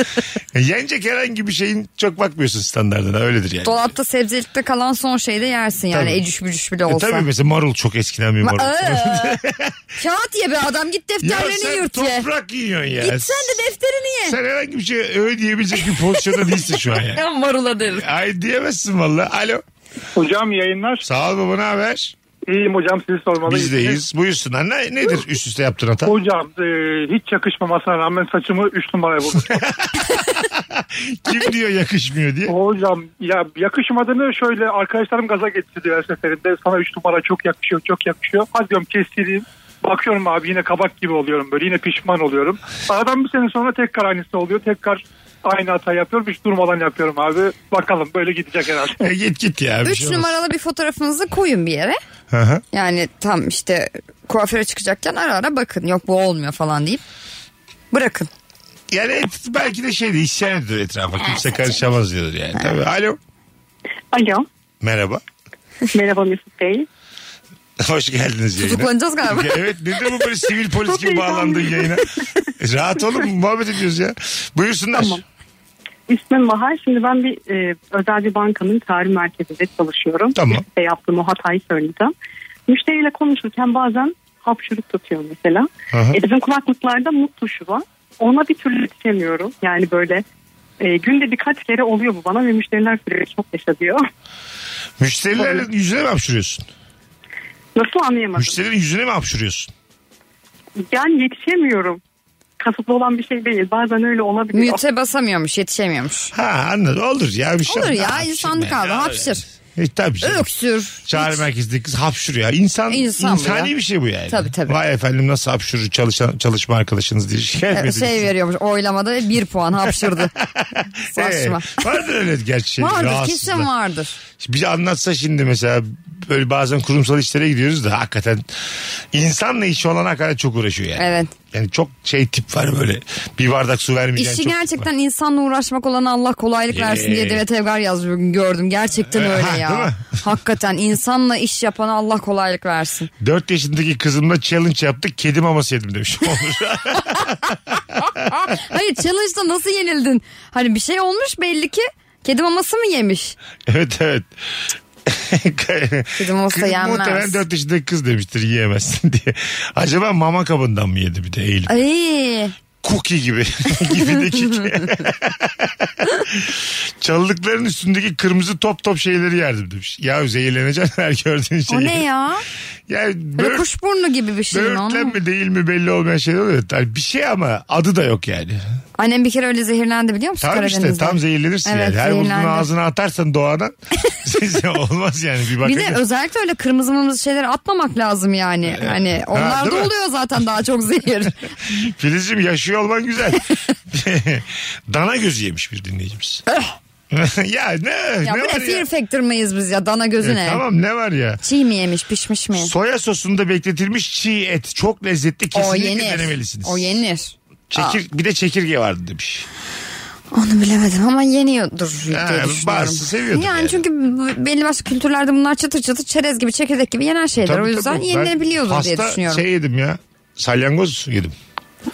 C: E, Yenecek herhangi bir şeyin çok bakmıyorsun standartına öyledir yani. E,
D: Dolapta sebzelikte kalan son şeyi de yersin yani
C: Tabii.
D: ecüş bücüş bile
C: E
D: olsa.
C: tabii mesela marul çok eskiden bir marul.
D: Ma- Aa, kağıt ye be adam git
C: ya
D: defterlerini
C: sen
D: yırt ye.
C: toprak yiyorsun ya.
D: Git sen de defterini ye.
C: Sen herhangi bir şey öyle diyebilecek bir pozisyonda değilsin şu an yani.
D: Ya marula derim.
C: Ay diyemezsin valla. Alo.
J: Hocam yayınlar.
C: Sağ ol baba ne haber?
J: İyiyim hocam sizi sormalıyız.
C: Bizdeyiz. Buyursun anne. Nedir üst üste yaptığın hata?
J: Hocam e, hiç yakışmamasına rağmen saçımı 3 numaraya vurdum.
C: Kim diyor yakışmıyor diye.
J: Hocam ya yakışmadığını şöyle arkadaşlarım gaza getirdi her seferinde. Sana 3 numara çok yakışıyor çok yakışıyor. Hadi diyorum kestireyim. Bakıyorum abi yine kabak gibi oluyorum böyle yine pişman oluyorum. Aradan bir sene sonra tekrar aynısı oluyor. Tekrar aynı hata yapıyorum hiç durmadan yapıyorum abi. Bakalım böyle gidecek herhalde.
C: E, git git ya. bir
D: Üç
C: şey olmaz.
D: numaralı bir fotoğrafınızı koyun bir yere.
C: Hı hı.
D: Yani tam işte kuaföre çıkacakken ara ara bakın. Yok bu olmuyor falan deyip bırakın.
C: Yani et, belki de şeydi isyan ediyor etrafa. Kimse karışamaz diyordur yani. Tabii. Alo.
K: Alo.
C: Merhaba.
K: Merhaba Mesut Bey.
C: Hoş geldiniz yayına.
D: Tutuklanacağız galiba.
C: evet nedir bu böyle sivil polis
K: Çok
C: gibi bağlandığın
K: heyecanlıyım.
C: yayına? E, Rahat olun muhabbet ediyoruz ya. Buyursunlar.
K: Tamam. İsmim Bahar. Şimdi ben bir e, özel bir bankanın tarih merkezinde çalışıyorum.
C: Tamam.
K: Ve yaptığım o hatayı söyleyeceğim. Müşteriyle konuşurken bazen hapşuruk tutuyor mesela.
C: Aha.
K: E, bizim kulaklıklarda mut tuşu var. Ona bir türlü yetişemiyorum. Yani böyle e, günde birkaç kere oluyor bu bana ve müşteriler sürekli çok yaşatıyor.
C: Müşterilerin yüzüne mi hapşırıyorsun?
K: Nasıl anlayamadım.
C: Müşterilerin yüzüne mi hapşırıyorsun?
K: Yani yetişemiyorum. Kasıtlı olan bir şey değil. Bazen öyle olabiliyor.
D: Müte basamıyormuş yetişemiyormuş.
C: Ha anladım. Olur ya bir şey
D: Olur
C: olmaz.
D: ya
C: Hapşırma
D: insanlık
C: ya.
D: abi hapşır.
C: E, tabii canım.
D: Öksür.
C: Çağrı merkezindeki kız hapşırıyor. İnsan,
D: İnsan bu
C: insani
D: ya.
C: bir şey bu yani.
D: Tabii, tabii.
C: Vay efendim nasıl hapşırır çalışan, çalışma arkadaşınız diye şikayet mi
D: Ee,
C: ediyorsun?
D: Şey veriyormuş oylamada bir puan hapşırdı.
C: Ee,
D: Saçma.
C: vardır öyle gerçi. şey,
D: Vardır
C: rahatsızlık.
D: kesin vardır.
C: Bir anlatsa şimdi mesela böyle bazen kurumsal işlere gidiyoruz da hakikaten insanla işi olan hakikaten çok uğraşıyor yani.
D: Evet.
C: Yani çok şey tip var böyle bir bardak su vermeyeceğin
D: İşi
C: çok
D: gerçekten insanla uğraşmak olan Allah kolaylık versin diye
C: Ee.
D: Demet Evgar yazdı bugün gördüm. Gerçekten
C: Ha,
D: öyle
C: değil mi?
D: ya. Hakikaten insanla iş yapana Allah kolaylık versin.
C: 4 yaşındaki kızımla challenge yaptık kedi maması yedim demiş. Olur.
D: Hayır challenge'da nasıl yenildin? Hani bir şey olmuş belli ki. Kedi maması mı yemiş?
C: evet evet.
D: Kedi maması
C: Kız
D: yenmez.
C: Muhtemelen 4 yaşındaki kız demiştir yiyemezsin diye. Acaba mama kabından mı yedi bir de Eylül?
D: Ay,
C: Cookie gibi. gibi de kiki. Çalılıkların üstündeki kırmızı top top şeyleri yerdim demiş. Ya zehirleneceksin her gördüğün şeyi.
D: o ne ya?
C: Yani
D: Böyle
C: bör,
D: kuşburnu gibi bir şey mi? o?
C: böğürtlen mi değil mi belli olmayan şeyler oluyor. Yani bir şey ama adı da yok yani.
D: Annem bir kere öyle zehirlendi biliyor musun?
C: Tam işte
D: Karadeniz'de?
C: tam zehirlenirsin
D: Evet,
C: yani. Her bulduğun
D: zehirlendim.
C: ağzına atarsan doğadan olmaz yani bir bakın.
D: Bir de özellikle öyle kırmızı mırmızı şeyler atmamak lazım yani. Hani onlar
C: Ee, değil
D: da
C: mi?
D: oluyor zaten daha çok zehir.
C: Filizciğim yaşıyor olman güzel. Dana gözü yemiş bir dinleyicimiz. ya ne,
D: Eh! ya
C: ne
D: bu
C: var
D: ne fear
C: ya?
D: factor mıyız biz ya? Dana
C: E,
D: gözüne.
C: tamam ne var ya?
D: Çiğ mi yemiş pişmiş mi?
C: Soya sosunda bekletilmiş çiğ et çok lezzetli
D: o
C: kesinlikle
D: yenir.
C: denemelisiniz.
D: O yenir.
C: Çekir, bir de çekirge vardı demiş.
D: Onu bilemedim ama yeniyordur diye
C: Ha,
D: düşünüyorum.
C: bazısı seviyordur
D: Yani,
C: yani.
D: çünkü b- belli başlı kültürlerde bunlar çıtır çıtır çerez gibi çekirdek gibi yenen şeyler.
C: Tabii,
D: o yüzden
C: tabii. Ben
D: yenilebiliyordur diye
C: pasta
D: düşünüyorum.
C: şey yedim ya. Salyangoz yedim.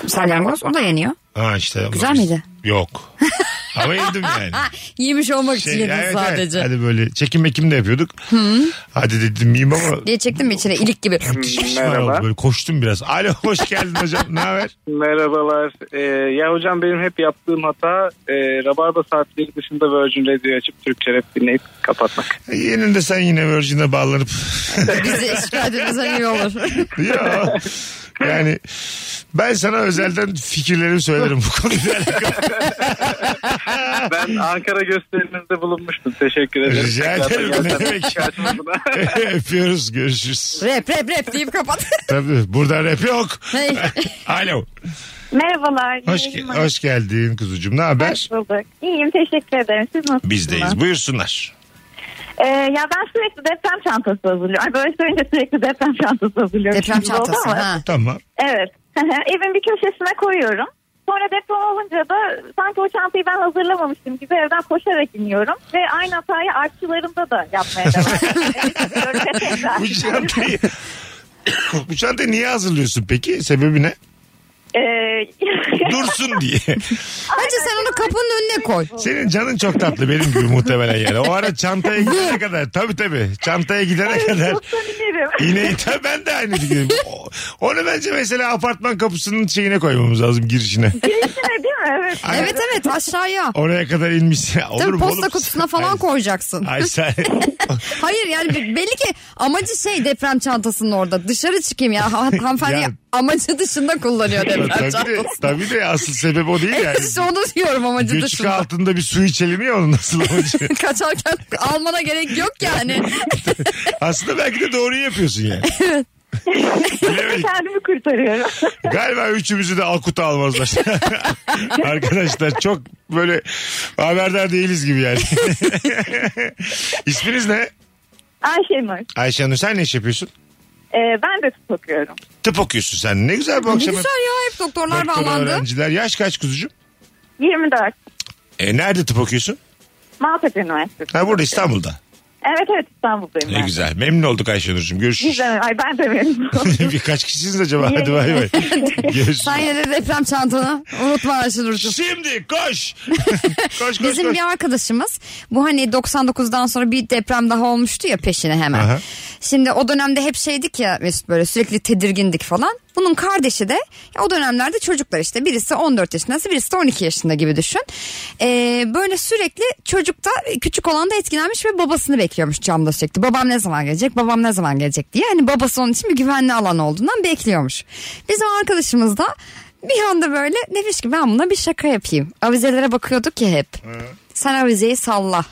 D: Salyangoz o da yeniyor.
C: Ha işte.
D: Güzel miydi?
C: Yok. Ama yedim yani.
D: Yemiş olmak için
C: Şey,
D: yedin
C: evet, evet.
D: sadece.
C: Hadi böyle çekim mekim de yapıyorduk. Hadi dedim yiyeyim ama
D: Diye çektim mi içine ilik gibi.
C: müthiş pişman
H: Merhaba.
C: oldum. Böyle koştum biraz. Alo hoş geldin hocam. Ne haber?
H: Merhabalar. Ee, ya hocam benim hep yaptığım hata e, Rabarba saatleri dışında Virgin Radio'yu açıp Türkçe rap dinleyip kapatmak.
C: Yeninde sen yine Virgin'e bağlanıp.
D: Bizi şikayet etmesen iyi olur.
C: Yo. Yani ben sana özelden fikirlerimi söylerim bu konuyla alakalı.
H: Ben Ankara gösterinizde bulunmuştum. Teşekkür ederim.
C: Rica
H: Zaten
C: ederim. Ne
H: gelsen-
C: demek? Öpüyoruz görüşürüz.
D: rap rap rap deyip kapat.
C: Tabii burada rap yok.
D: Hey.
C: Alo.
L: Merhabalar.
C: Hoş,
L: iyi
C: ge-
L: yayınlar.
C: hoş geldin kuzucuğum. Ne haber?
L: Hoş bulduk. İyiyim teşekkür ederim. Siz nasılsınız?
C: Bizdeyiz. Buyursunlar.
L: Ee, ya ben sürekli deprem çantası hazırlıyorum. Ay, Böyle söyleyince sürekli deprem çantası hazırlıyorum.
D: Deprem
L: Şimdi oldu
D: çantası.
L: ama-
D: Ha.
C: Tamam.
L: Evet. Evin bir köşesine koyuyorum. Sonra deprem olunca da sanki o çantayı ben hazırlamamıştım gibi evden koşarak iniyorum. Ve aynı hatayı artçılarımda da yapmaya devam ediyorum. Evet, tekrar.
C: Bu şey- çantayı... Bu çantayı niye hazırlıyorsun peki? Sebebi ne?
L: Ee,
C: Dursun diye.
D: Bence sen onu kapının önüne koy.
C: Senin canın çok tatlı benim gibi muhtemelen yani. O ara çantaya gidene kadar tabii tabii çantaya gidene kadar
L: Çok da bilirim.
C: iğneyi tabii ben de aynı düşünüyorum. O- Onu bence mesela apartman kapısının şeyine koymamız lazım girişine.
L: Değişime değil mi? Evet.
C: Ay-
D: Evet evet aşağıya.
C: Oraya kadar inmiş. Olur
D: Tabii
C: mu
D: posta
C: oğlum?
D: kutusuna falan
C: Ay-
D: koyacaksın.
C: Ay sen
D: Hayır yani be- belli ki amacı şey deprem çantasının orada. Dışarı çıkayım ya. Ha- Hanımefendi
C: Ya-
D: amacı dışında kullanıyor deprem
C: tabii, de,
D: çantasını.
C: tabii de asıl sebebi o değil yani.
D: Evet işte onu diyorum amacı
C: Göçük
D: dışında.
C: altında bir su içelim ya onun nasıl olacağı.
D: Kaçarken almana gerek yok yani. E,
C: Aslında belki de doğruyu yapıyorsun yani. Bilemedik.
L: Kendimi kurtarıyorum.
C: Galiba üçümüzü de akuta almazlar. Arkadaşlar çok böyle haberdar değiliz gibi yani. İsminiz ne?
L: Ayşe Nur.
C: Ayşe Hanım sen ne iş yapıyorsun?
L: Ee, ben de tıp okuyorum.
C: Tıp okuyorsun sen. Ne güzel bu
D: Ne
C: akşam.
D: güzel ya hep doktorlar
C: Doktora,
D: bağlandı.
C: öğrenciler. Yaş kaç kuzucuğum?
L: 24.
C: E, nerede tıp okuyorsun?
L: Maltepe Üniversitesi.
C: Ha burada
D: Ee,
C: İstanbul'da.
L: Evet evet İstanbul'dayım
C: Ne
L: ben.
C: güzel. Memnun olduk Ayşe Nurcuğum. Görüşürüz.
L: Güzel. Ay ben de memnunum.
C: Birkaç kişisiniz acaba? Hadi bay bay. Görüşürüz.
D: Sen yine de deprem çantanı unutma Ayşe Nurcuğum.
C: Şimdi koş. koş koş
D: Bizim
C: koş.
D: bir arkadaşımız bu hani 99'dan sonra bir deprem daha olmuştu ya peşine hemen.
C: Aha.
D: Şimdi o dönemde hep şeydik ya Mesut böyle sürekli tedirgindik falan. Bunun kardeşi de ya o dönemlerde çocuklar işte birisi 14 yaşında birisi de 12 yaşında gibi düşün. Ee, böyle sürekli çocukta küçük olan da etkilenmiş ve babasını bekliyormuş camda sürekli. Babam ne zaman gelecek babam ne zaman gelecek diye. Hani babası onun için bir güvenli alan olduğundan bekliyormuş. Bizim arkadaşımız da bir anda böyle demiş ki ben buna bir şaka yapayım. Avizelere bakıyorduk ya hep. Sen avizeyi salla.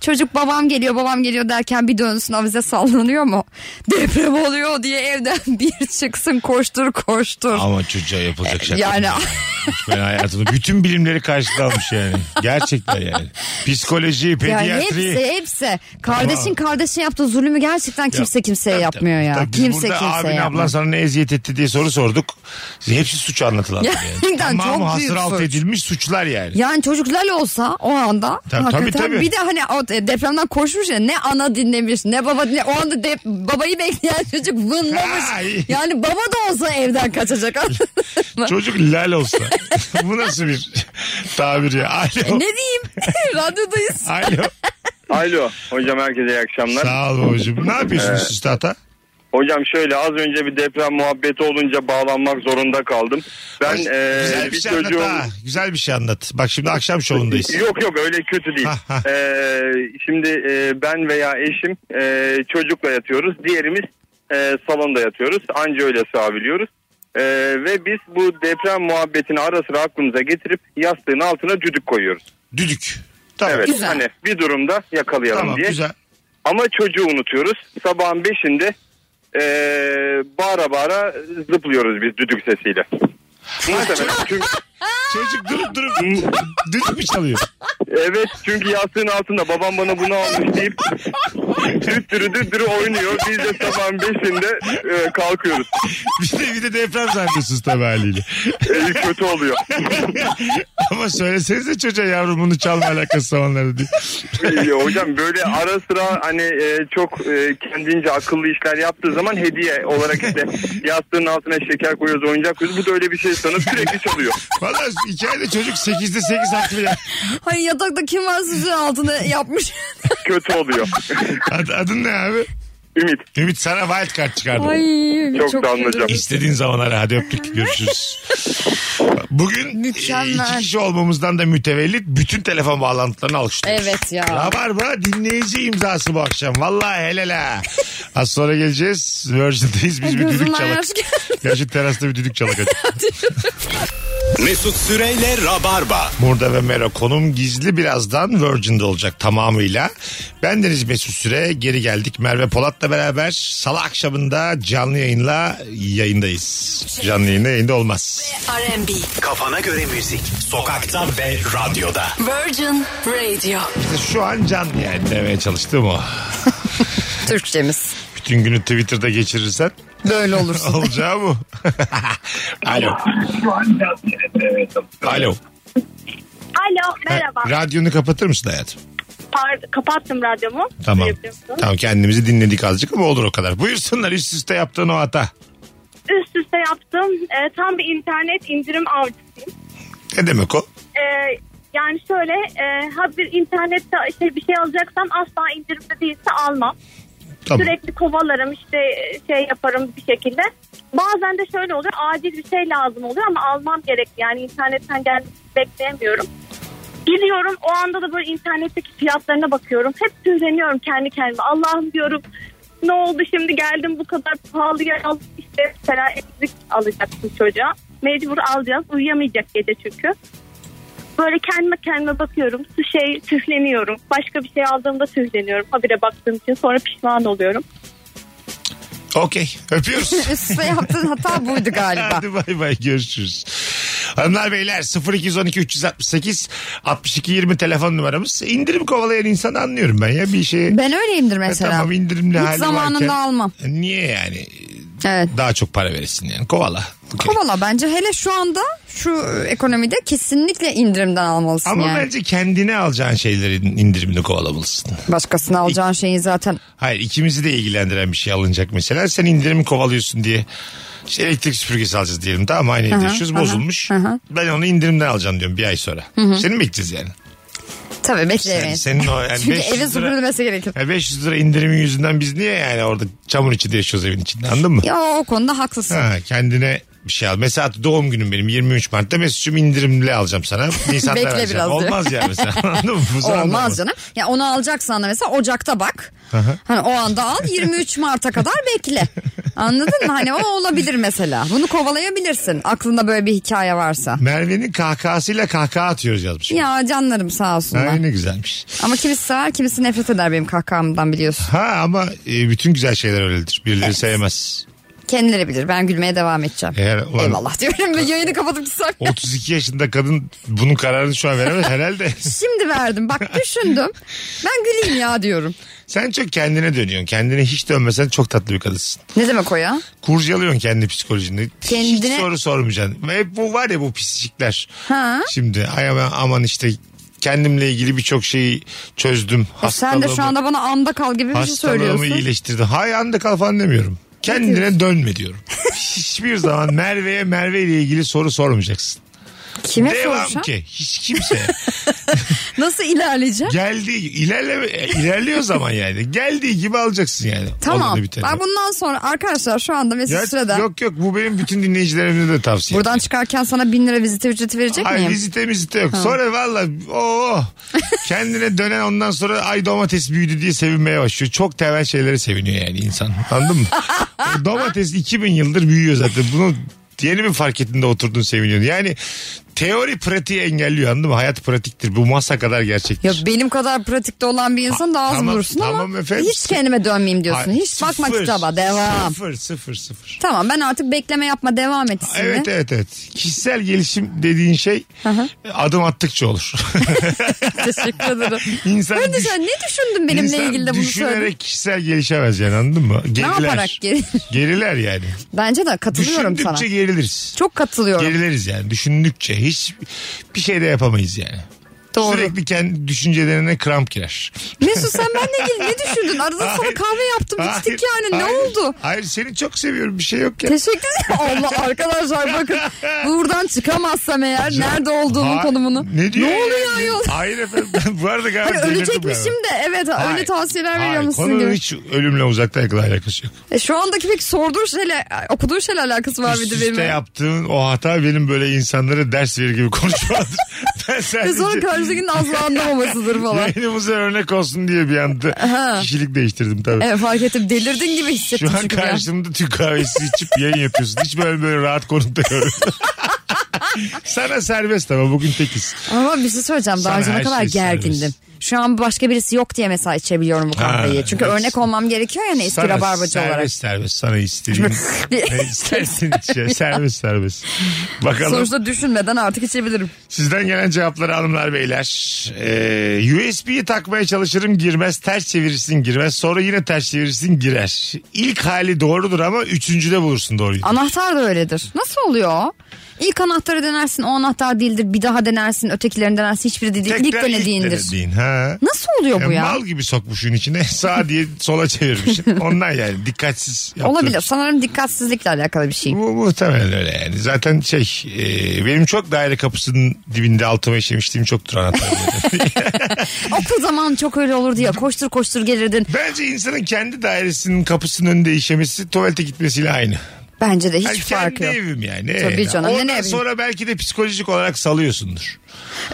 D: Çocuk babam geliyor babam geliyor derken bir dönsün avize sallanıyor mu? Deprem oluyor diye evden bir çıksın koştur koştur.
C: Ama çocuğa yapılacak şaka.
D: E, yani
C: Ben hayatımda bütün bilimleri karşılamış yani. Gerçekten yani. Psikoloji,
D: yani
C: pediatri.
D: hepsi hepsi. Kardeşin kardeşe yaptığı zulmü gerçekten kimse kimseye yapmıyor ya.
C: Tabii biz
D: kimse
C: burada
D: kimseye
C: abin ablan
D: yapmıyor.
C: sana ne eziyet etti diye soru sorduk. Hepsi suç anlatılan. Yani.
D: Gerçekten
C: Tamamı
D: çok büyük
C: hasır alt
D: suç.
C: edilmiş suçlar yani.
D: Yani çocuklar olsa o anda
C: Tabii,
D: hakikaten
C: tabii, tabii.
D: bir de hani o depremden koşmuş ya ne ana dinlemiş ne baba dinle o anda dep- babayı bekleyen çocuk vınlamış.
C: Ay.
D: Yani baba da olsa evden kaçacak.
C: Çocuk lal olsa. Bu nasıl bir tabir ya? Alo.
D: E, ne diyeyim? Radyodayız.
C: Alo.
I: Alo hocam herkese iyi akşamlar.
C: Sağ ol babacığım. Ne yapıyorsun süslü ata?
I: Hocam şöyle az önce bir deprem muhabbeti olunca bağlanmak zorunda kaldım. Ben e,
C: Güzel bir
I: bir
C: şey
I: çocuğum...
C: anlat ha. Güzel bir şey anlat. Bak şimdi akşam şovundayız.
I: Yok yok öyle kötü değil.
C: Ha, ha.
I: Ee, şimdi e, ben veya eşim e, çocukla yatıyoruz. Diğerimiz e, salonda yatıyoruz. Anca öyle sığabiliyoruz. E, ve biz bu deprem muhabbetini ara sıra aklımıza getirip yastığın altına düdük koyuyoruz.
C: Düdük. Tamam.
I: Evet
D: Güzel.
I: hani bir durumda yakalayalım
C: Tamam
I: diye.
C: güzel.
I: Ama çocuğu unutuyoruz. Sabahın beşinde e, bağıra bağıra zıplıyoruz biz düdük sesiyle. Muhtemelen çünkü,
C: Çocuk durup durup düdük mü çalıyor?
I: evet çünkü yastığın altında babam bana bunu almış deyip düttürü düttürü oynuyor. Biz de sabahın beşinde e, kalkıyoruz.
C: Bir de, bir de deprem zannediyorsunuz tabii haliyle.
I: E, kötü oluyor.
C: Ama söyleseniz de çocuğa yavrum bunu çalma alakası zamanlarda diye.
I: E, hocam böyle ara sıra hani e, çok e, kendince akıllı işler yaptığı zaman hediye olarak işte yastığın altına şeker koyuyoruz, oyuncak koyuyoruz. Bu da öyle bir şey sanıp sürekli çalıyor.
C: Valla hikayede çocuk 8'de 8 haklı ya.
D: Hani yatakta kim var süzün altında yapmış.
I: Kötü oluyor.
C: Ad- adın ne abi?
I: Ümit.
C: Ümit sana wild card çıkardım.
D: Ay
I: Çok canlı
D: üzüldüm.
I: canım.
C: İstediğin zaman ara hadi öptük görüşürüz. Bugün e,
D: Mükemmel.
C: iki kişi olmamızdan da mütevellit bütün telefon bağlantılarını alkışlıyoruz.
D: Evet ya.
C: Rabarba dinleyici imzası bu akşam. Vallahi helal ha. Az sonra geleceğiz. Virgin'deyiz biz bir düdük
D: Gözümden
C: çalak.
D: yaş geldi.
C: Gerçi terasta bir düdük çalak. hadi.
B: Mesut Süreyle Rabarba.
C: Burada ve Mero konum gizli birazdan Virgin'de olacak tamamıyla. Ben Deniz Mesut Süre geri geldik. Merve Polat'la beraber salı akşamında canlı yayınla yayındayız. Canlı yayında yayında olmaz.
M: R&B.
B: Kafana göre müzik. Sokakta ve radyoda.
M: Virgin Radio.
C: İşte şu an canlı yayın demeye çalıştım o.
D: Türkçemiz.
C: Bütün günü Twitter'da geçirirsen
D: Böyle olursun.
C: olacağı bu. Alo. Alo.
L: Alo
C: Ha,
L: merhaba.
C: Radyonu kapatır mısın hayatım?
L: Par- kapattım radyomu.
C: Tamam.
L: Şey yapıyorsun.
C: Tamam kendimizi dinledik azıcık ama olur o kadar. Buyursunlar üst üste yaptığın o hata.
L: Üst üste yaptım. Ee, tam bir internet indirim avcısıyım.
C: Ne demek o?
L: Ee, yani şöyle e, ha bir internette işte bir şey alacaksam asla indirimde değilse almam.
C: Tamam.
L: Sürekli kovalarım işte e, şey yaparım bir şekilde. Bazen de şöyle oluyor acil bir şey lazım oluyor ama almam gerek. Yani internetten gel bekleyemiyorum. Gidiyorum o anda da böyle internetteki fiyatlarına bakıyorum. Hep sinirleniyorum kendi kendime. Allah'ım diyorum ne oldu şimdi geldim bu kadar pahalı yer aldım. İşte mesela elektrik alacaksın çocuğa. Mecbur alacağız uyuyamayacak gece çünkü. Böyle kendime kendime bakıyorum. Su şey tüfleniyorum. Başka bir şey aldığımda tüfleniyorum. Habire baktığım için sonra pişman oluyorum.
C: Okey. Öpüyoruz.
D: Üst üste yaptığın hata buydu galiba.
C: Hadi bay bay görüşürüz. Hanımlar beyler 0212 368 62 20 telefon numaramız. İndirim kovalayan insanı anlıyorum ben ya bir şeye.
D: Ben öyleyimdir mesela.
C: E, Tamam indirimli
D: Hiç
C: hali
D: zamanında
C: varken- E,
D: almam.
C: Niye yani?
D: Evet.
C: Daha çok para verirsin yani. Kovala. Okey.
D: Kovala bence hele şu anda şu ekonomide kesinlikle indirimden almalısın
C: Ama
D: yani.
C: bence kendine alacağın şeylerin indirimini kovalamalısın.
D: Başkasına alacağın şeyi zaten
C: Hayır ikimizi de ilgilendiren bir şey alınacak mesela. Sen indirimi kovalıyorsun diye. İşte elektrik süpürgesi alacağız diyelim tamam aynı
D: hı,
C: ediyoruz
D: hı hı,
C: bozulmuş.
D: hı hı.
C: Ben onu indirimden alacağım diyorum bir ay sonra. Seni mi bekleyeceğiz yani?
D: tabii
C: Sen,
D: bekleyemeyiz.
C: senin o yani
D: Çünkü
C: 500
D: evin
C: lira,
D: süpürülmesi gerekir.
C: Ya 500 lira indirimin yüzünden biz niye yani orada çamur içinde yaşıyoruz evin içinde anladın mı?
D: Ya o konuda haklısın.
C: Ha, kendine bir şey al. Mesela doğum günüm benim 23 Mart'ta Mesut'cum indirimli alacağım sana. Nisan'da
D: Bekle
C: vereceğim.
D: biraz diyor.
C: Olmaz yani mesela anladın mı? Bu sana anlamaz.
D: Olmaz canım. Ya onu alacaksan da mesela Ocak'ta bak. Hani o anda al 23 Mart'a kadar bekle. Anladın mı? Hani o olabilir mesela. Bunu kovalayabilirsin. Aklında böyle bir hikaye varsa.
C: Merve'nin kahkahasıyla kahkaha atıyoruz yazmış.
D: Ya canlarım sağ
C: Ha,
D: olsunlar.
C: ne güzelmiş.
D: Ama kimisi sever kimisi nefret eder benim kahkahamdan biliyorsun.
C: Ha ama e, bütün güzel şeyler öyledir. Birileri sevmez.
D: Kendileri bilir ben gülmeye devam edeceğim.
C: Eğer ulan-
D: Eyvallah diyorum ve yayını kapatıp gitsem.
C: 32 yaşında kadın bunun kararını şu an veremez herhalde.
D: Şimdi verdim bak düşündüm. Ben güleyim ya diyorum.
C: Sen çok kendine dönüyorsun. Kendine hiç dönmesen çok tatlı bir kadınsın.
D: Ne demek o ya?
C: Kurcalıyorsun kendi psikolojini.
D: Kendine-
C: Hiç soru sormayacaksın. Ve hep bu var ya bu pislikler.
D: Ha?
C: Şimdi ay aman, aman işte kendimle ilgili birçok şeyi çözdüm.
D: E sen de şu anda bana anda kal gibi bir şey
C: hastalığımı
D: söylüyorsun.
C: iyileştirdim. Hay anda kal falan demiyorum. Kendine dönme diyorum. Hiçbir zaman Merve'ye Merve ile ilgili soru sormayacaksın.
D: Kime
C: Devam
D: soracağım?
C: ki. Hiç kimse.
D: Nasıl ilerleyeceğim?
C: Geldi ilerleme ilerliyor zaman yani. Geldiği gibi alacaksın yani.
D: Tamam.
C: Olanı biteni.
D: Ben bundan sonra arkadaşlar şu anda Mesut
C: Ya,
D: Süre'den
C: Yok yok bu benim bütün dinleyicilerime de tavsiye.
D: buradan çıkarken sana bin lira vizite ücreti verecek
C: Ay
D: miyim?
C: vizite mizite yok. Sonra valla o kendine dönen ondan sonra ay domates büyüdü diye sevinmeye başlıyor. Çok temel şeylere seviniyor yani insan. Anladın mı? E, domates 2000 yıldır büyüyor zaten. Bunu yeni bir fark ettiğinde oturdun seviniyorsun. Yani teori pratiği engelliyor anladın mı? Hayat pratiktir. Bu masa kadar gerçektir.
D: Ya benim kadar pratikte olan bir insan da az
C: tamam,
D: bulursun
C: tamam
D: ama
C: efendim.
D: hiç kendime dönmeyeyim diyorsun.
C: Ay,
D: hiç bakma
C: sıfır,
D: kitaba devam.
C: Sıfır sıfır sıfır.
D: Tamam ben artık bekleme yapma devam et şimdi.
C: Evet evet evet. Kişisel gelişim dediğin şey adım attıkça olur.
D: Teşekkür ederim.
C: İnsan
D: ben de
C: düş-
D: sen ne düşündün benimle
C: İnsan
D: ilgili de bunu
C: düşünerek
D: söyledin?
C: kişisel gelişemez yani anladın mı? Geriler.
D: yaparak geri-
C: Geriler yani.
D: Bence de katılıyorum
C: Düşündükçe
D: sana.
C: geriliriz.
D: Çok katılıyorum.
C: Gerileriz yani düşündükçe. Hiç bir şey de yapamayız yani.
D: Doğru.
C: Sürekli kendi düşüncelerine kramp girer.
D: Mesut sen benle ilgili ne düşündün? Arada sana
C: Hayır.
D: kahve yaptım
C: Hayır,
D: içtik yani ne
C: hayır.
D: oldu?
C: Hayır seni çok seviyorum bir şey yok ya.
D: Teşekkür ederim. Allah arkadaşlar bakın buradan çıkamazsam eğer nerede olduğumu
C: Ha-
D: konumunu.
C: Ne diyor? ya?
D: oluyor ayol?
C: Hayır efendim ben bu arada galiba
D: Hani ölecekmişim de evet öyle
C: Hayır.
D: tavsiyeler
C: Hayır,
D: veriyormuşsun
C: konunun
D: gibi.
C: hiç ölümle uzakta yakın alakası yok.
D: E, şu andaki peki sorduğun şeyle okuduğun şeyle alakası var
C: Üst
D: mıydı
C: üste
D: benim?
C: yaptığın o hata benim böyle insanlara ders verir gibi konuşmadır. ben
D: Ve
C: sadece...
D: E, sonra karşıdakinin asla anlamamasıdır falan.
C: Yayınımıza örnek olsun diye bir anda
D: Aha.
C: kişilik değiştirdim tabii.
D: Evet fark ettim delirdin gibi
C: Şu
D: hissettim
C: an
D: çünkü bir an.
C: karşımda Türk kahvesi içip yayın yapıyorsun. Hiç böyle böyle rahat konumda görüyorum. Sana serbest ama bugün tekiz.
D: Ama bir şey söyleyeceğim.
C: Sana
D: Daha önce
C: her
D: ne kadar
C: şey
D: gergindim.
C: serbest.
D: Şu an başka birisi yok diye mesela içebiliyorum bu kahveyi.
C: Ha,
D: Çünkü
C: evet.
D: örnek olmam gerekiyor yani eski rabarbacı
C: serbest
D: olarak.
C: serbest sana istediğin ne istersin içe. Serbest serbest. Bakalım
D: Sonuçta düşünmeden artık içebilirim.
C: sizden gelen cevapları hanımlar beyler. Ee, USB'yi takmaya çalışırım girmez ters çevirirsin girmez sonra yine ters çevirirsin girer. İlk hali doğrudur ama üçüncüde bulursun doğruyu.
D: Anahtar da öyledir. Nasıl oluyor? o? İlk anahtarı denersin o anahtar değildir. Bir daha denersin ötekilerini denersin hiçbiri değil.
C: Tekrar
D: ilk denediğindir.
C: denediğin, Ha.
D: Nasıl oluyor bu
C: Yani
D: ya?
C: Mal gibi sokmuşsun içine sağ diye sola çevirmişsin. Ondan yani dikkatsiz yaptın.
D: Olabilir. Sanırım dikkatsizlikle alakalı bir şey.
C: Bu muhtemelen öyle yani. Zaten şey e, benim çok daire kapısının dibinde altıma işemişliğim çoktur anahtarları.
D: Okul zaman çok öyle olurdu ya. Koştur koştur gelirdin.
C: Bence insanın kendi dairesinin kapısının önünde işemesi tuvalete gitmesiyle aynı.
D: Bence de hiç
C: Yani
D: farkı
C: kendi
D: yok.
C: evim yani.
D: Tabii
C: Evet.
D: canım, ne
C: Ondan
D: ne bileyim.
C: sonra belki de psikolojik olarak salıyorsundur.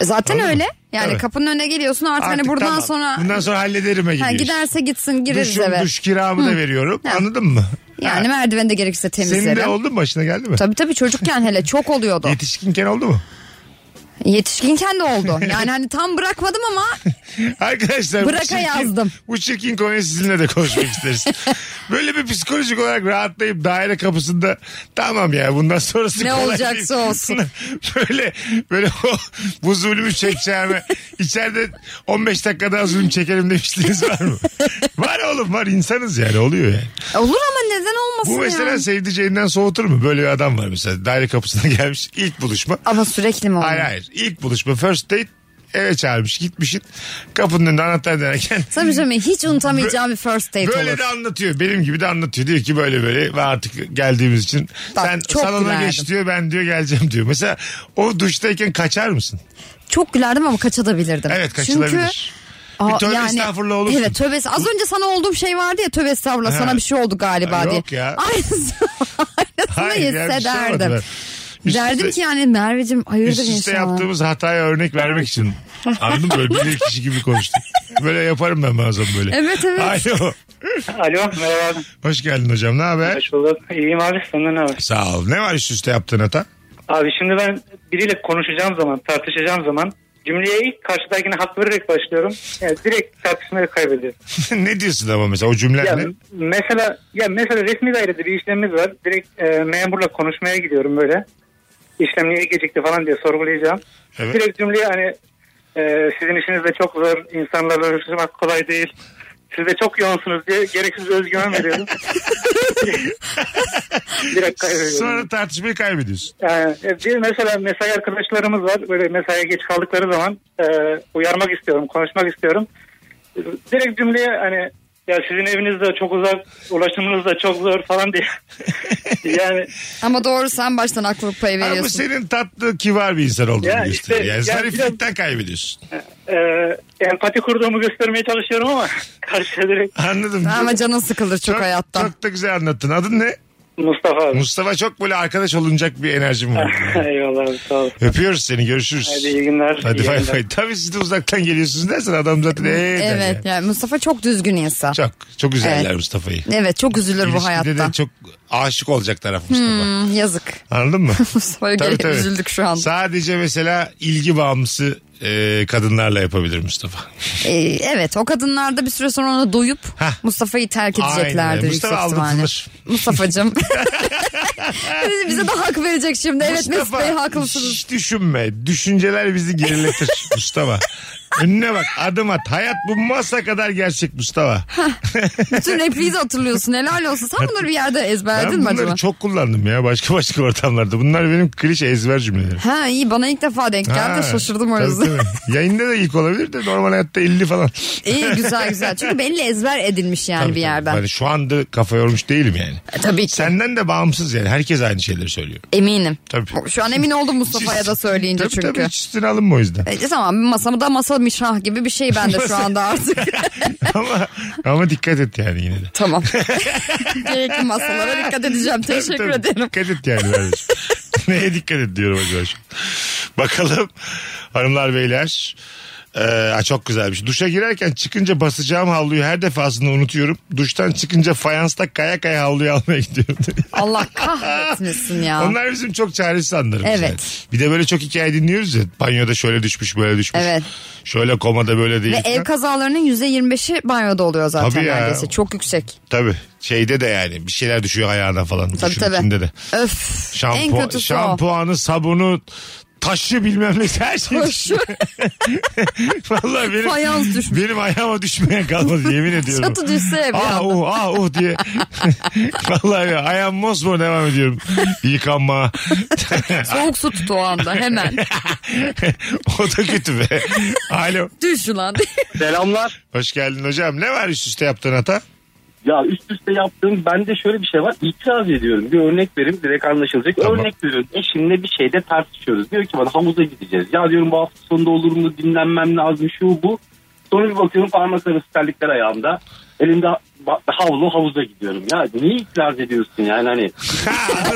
D: E, Zaten
C: Anladın mı?
D: öyle. Yani
C: Evet.
D: kapının önüne geliyorsun artık,
C: Artık
D: hani buradan
C: tamam.
D: sonra
C: Bundan sonra hallederim'e
D: ha,
C: gidiyorsun.
D: giderse gitsin gireriz
C: Duşum,
D: eve.
C: Duş kiramı da veriyorum.
D: Ha.
C: Anladın mı?
D: Yani
C: Ha.
D: merdivende gerekirse
C: Senin de
D: temizlerim.
C: oldu mu başına geldi mi?
D: Tabii tabii çocukken hele çok oluyordu.
C: Yetişkinken oldu mu?
D: Yetişkinken de oldu. Yani hani tam bırakmadım ama
C: Arkadaşlar bu
D: Bırak'a
C: çirkin-
D: yazdım.
C: Bu çirkin konuyu sizinle de konuşmak isteriz. Böyle bir psikolojik olarak rahatlayıp daire kapısında tamam ya bundan sonrası
D: Ne
C: kolay
D: olacaksa
C: değil."
D: olsun.
C: böyle böyle o, bu zulmü çekeceğime içeride 15 dakika daha zulüm çekelim demiştiniz var mı? var oğlum var insanız yani oluyor yani.
D: olur ama neden olmasın
C: Bu mesela
D: ya.
C: sevdiceğinden soğutur mu? Böyle bir adam var mesela daire kapısına gelmiş ilk buluşma.
D: Ama sürekli mi
C: Hayır
D: oluyor?
C: hayır. İlk buluşma first date eve çağırmış gitmişin. Kapının önünde anahtar derken
D: Sana bir şey söyleyeyim mi? hiç unutamayacağım bir first date
C: böyle
D: olur.
C: de anlatıyor. Benim gibi de anlatıyor. Diyor ki böyle böyle ve artık geldiğimiz için
D: Bak,
C: sen
D: çok
C: salona
D: gülerdim.
C: geç diyor ben diyor geleceğim diyor. Mesela o duştayken kaçar mısın?
D: Çok gülerdim ama kaçabilirdim.
C: Evet
D: Çünkü
C: kaçılabilir. Bir tövbe estağfurullah olursun.
D: Evet tövbe est- Az önce sana olduğum şey vardı ya tövbe estağfurullah
C: Ha.
D: sana bir şey oldu galiba
C: Ha,
D: diye.
C: yok ya.
D: Aynısı,
C: Hayır
D: aynısını
C: ya, bir şey olmadı
D: hissederdim.
C: ben. Üst
D: Derdim
C: üste-
D: ki yani Merveciğim hayırdır
C: Üst üste
D: inşallah.
C: yaptığımız hataya örnek vermek için. Anladın mı? Böyle bilir kişi gibi konuştuk. Böyle yaparım ben bazen böyle.
D: Evet, evet.
C: Alo.
E: Alo merhaba abi.
C: Hoş geldin hocam. Ne haber?
E: Hoş bulduk. İyiyim abi senden ne haber?
C: Sağ ol. Ne var üst üste yaptığın hata?
E: Abi şimdi ben biriyle konuşacağım zaman tartışacağım zaman cümleye ilk karşıdakine hak vererek başlıyorum. Yani direkt tartışmayı kaybediyorum.
C: ne diyorsun ama mesela o
E: Ya
C: cümlenle?
E: mesela ya mesela resmi dairede bir işlemimiz var. Direkt e, memurla konuşmaya gidiyorum böyle. İşlem niye gecikti falan diye sorgulayacağım.
C: Evet.
E: Direkt cümleye hani e, sizin işiniz de çok zor. insanlarla görüşmek kolay değil. Siz de çok yoğunsunuz diye gereksiz özgüven veriyorum. Direkt kaybediyorum.
C: Sonra tartışmayı kaybediyorsun.
E: Yani Ee, bir mesela mesai arkadaşlarımız var. Böyle mesaiye geç kaldıkları zaman e, uyarmak istiyorum, konuşmak istiyorum. Direkt cümleye hani ya sizin eviniz de çok uzak, ulaşımınız da çok zor falan diye. yani
D: Ama doğru sen baştan haklılık payı
C: Ama
D: veriyorsun.
C: senin tatlı kibar bir insan olduğunu
E: Ya
C: gösteriyor.
E: işte,
C: yani
E: ya
C: zariflikten kaybediyorsun.
E: e, empati kurduğumu göstermeye çalışıyorum ama karşıya direkt
C: Anladım.
D: Ama canın sıkılır çok, hayattan.
C: şey- Çok da güzel anlattın. Adın ne?
E: Mustafa abi.
C: Mustafa çok böyle arkadaş olunacak bir enerjim var.
E: Eyvallah abi sağ ol.
C: Öpüyoruz seni görüşürüz.
E: Hadi iyi günler.
C: Hadi
E: iyi
C: bay
E: yayınlar.
C: bay. Tabii siz de uzaktan geliyorsunuz dersen adam zaten ee der
D: Evet
C: yani.
D: yani Mustafa çok düzgün insan.
C: Çok, çok güzeller
D: Evet.
C: Mustafa'yı.
D: Evet çok üzülür bu
C: İlişkide
D: hayatta.
C: de çok aşık olacak taraf Mustafa.
D: Hmm, yazık.
C: Anladın mı?
D: Mustafa'ya
C: Tabii,
D: gene
C: tabii.
D: üzüldük şu an.
C: Sadece mesela ilgi bağımlısı e, kadınlarla yapabilir Mustafa.
D: Ee, evet o kadınlar da bir süre sonra ona doyup
C: Hah.
D: Mustafa'yı terk
C: Aynen.
D: edeceklerdir
C: Mustafa
D: yüksek ihtimalle.
C: aldatılır.
D: Mustafa'cım. Bize- Bize de hak verecek şimdi. Evet Mesut Bey haklısınız.
C: hiç düşünme. Düşünceler bizi geriletir Mustafa. Önüne bak adım at. Hayat bu masa kadar gerçek Mustafa.
D: Bütün repliği de hatırlıyorsun. Helal olsun. Sen bunları bir yerde
C: ben
D: ezberledin mi
C: bunları
D: acaba?
C: çok kullandım ya başka başka ortamlarda. Bunlar benim klişe ezber cümlelerim.
D: Ha iyi bana ilk defa denk geldi.
C: Ha,
D: Şaşırdım o
C: tabii,
D: yüzden.
C: tabii. Yayında da ilk olabilir de normal hayatta 50 falan.
D: iyi güzel güzel. Çünkü belli ezber edilmiş yani
C: Tabii,
D: bir
C: tabii.
D: yerden.
C: Hani şu anda kafa yormuş değilim yani.
D: E, tabii ki.
C: Senden de bağımsız yani. Herkes aynı şeyleri söylüyor.
D: Eminim.
C: Tabii.
D: Şu an emin oldum Mustafa'ya da söyleyince
C: tabii,
D: çünkü.
C: Tabii hiç üstüne alınma o yüzden.
D: E, tamam masamda masa mişrah gibi bir şey bende şu anda artık.
C: ama, ama dikkat et yani yine de.
D: Tamam. Gerekli masalara dikkat edeceğim. Teşekkür
C: Tabii, tabii.
D: ederim.
C: Dikkat et yani. kardeşim. Neye dikkat et diyorum acaba şimdi. Bakalım hanımlar beyler. Ee, ha, çok güzelmiş. Duşa girerken çıkınca basacağım havluyu her defasında unutuyorum. Duştan çıkınca fayansta kaya kaya havluyu almaya gidiyorum.
D: Allah kahretmesin ya.
C: Onlar bizim çok çaresiz anlarımız.
D: Evet.
C: yani. Bir de böyle çok hikaye dinliyoruz ya. Banyoda şöyle düşmüş böyle düşmüş.
D: Evet.
C: Şöyle komada böyle değil.
D: Ve ev kazalarının %25'i banyoda oluyor zaten
C: Tabii ya.
D: neredeyse. Çok yüksek.
C: Tabii şeyde de yani bir şeyler düşüyor ayağına falan.
D: Tabii
C: Duşun
D: tabii.
C: içinde de.
D: Öf.
C: Şampu-
D: en kötüsü o.
C: şampuanı, sabunu, taşı bilmem ne her şey.
D: Taşı.
C: Vallahi benim,
D: Fayans düşmüş.
C: benim ayağıma düşmeye kalmadı yemin ediyorum.
D: Çatı düşse hep
C: Ah
D: yandı.
C: uh ah uh diye. Vallahi ya, ayağım mosmor devam ediyorum. Yıkanma.
D: Soğuk su tut o anda hemen.
C: o da kötü be. Alo.
D: Düş ulan.
I: Selamlar.
C: Hoş geldin hocam. Ne var üst üste yaptığın hata?
I: Ya üst üste yaptığım bende şöyle bir şey var. İtiraz ediyorum. Bir örnek vereyim direkt anlaşılacak.
C: Tamam.
I: Örnek veriyorum. Eşimle bir şeyde tartışıyoruz. Diyor ki bana havuza gideceğiz. Ya diyorum bu hafta sonunda olur mu? Dinlenmem lazım şu bu. Sonra bir bakıyorum parmak arası terlikler ayağımda. Elimde ba- havlu havuza gidiyorum. Ya niye itiraz ediyorsun yani hani?
C: Aa,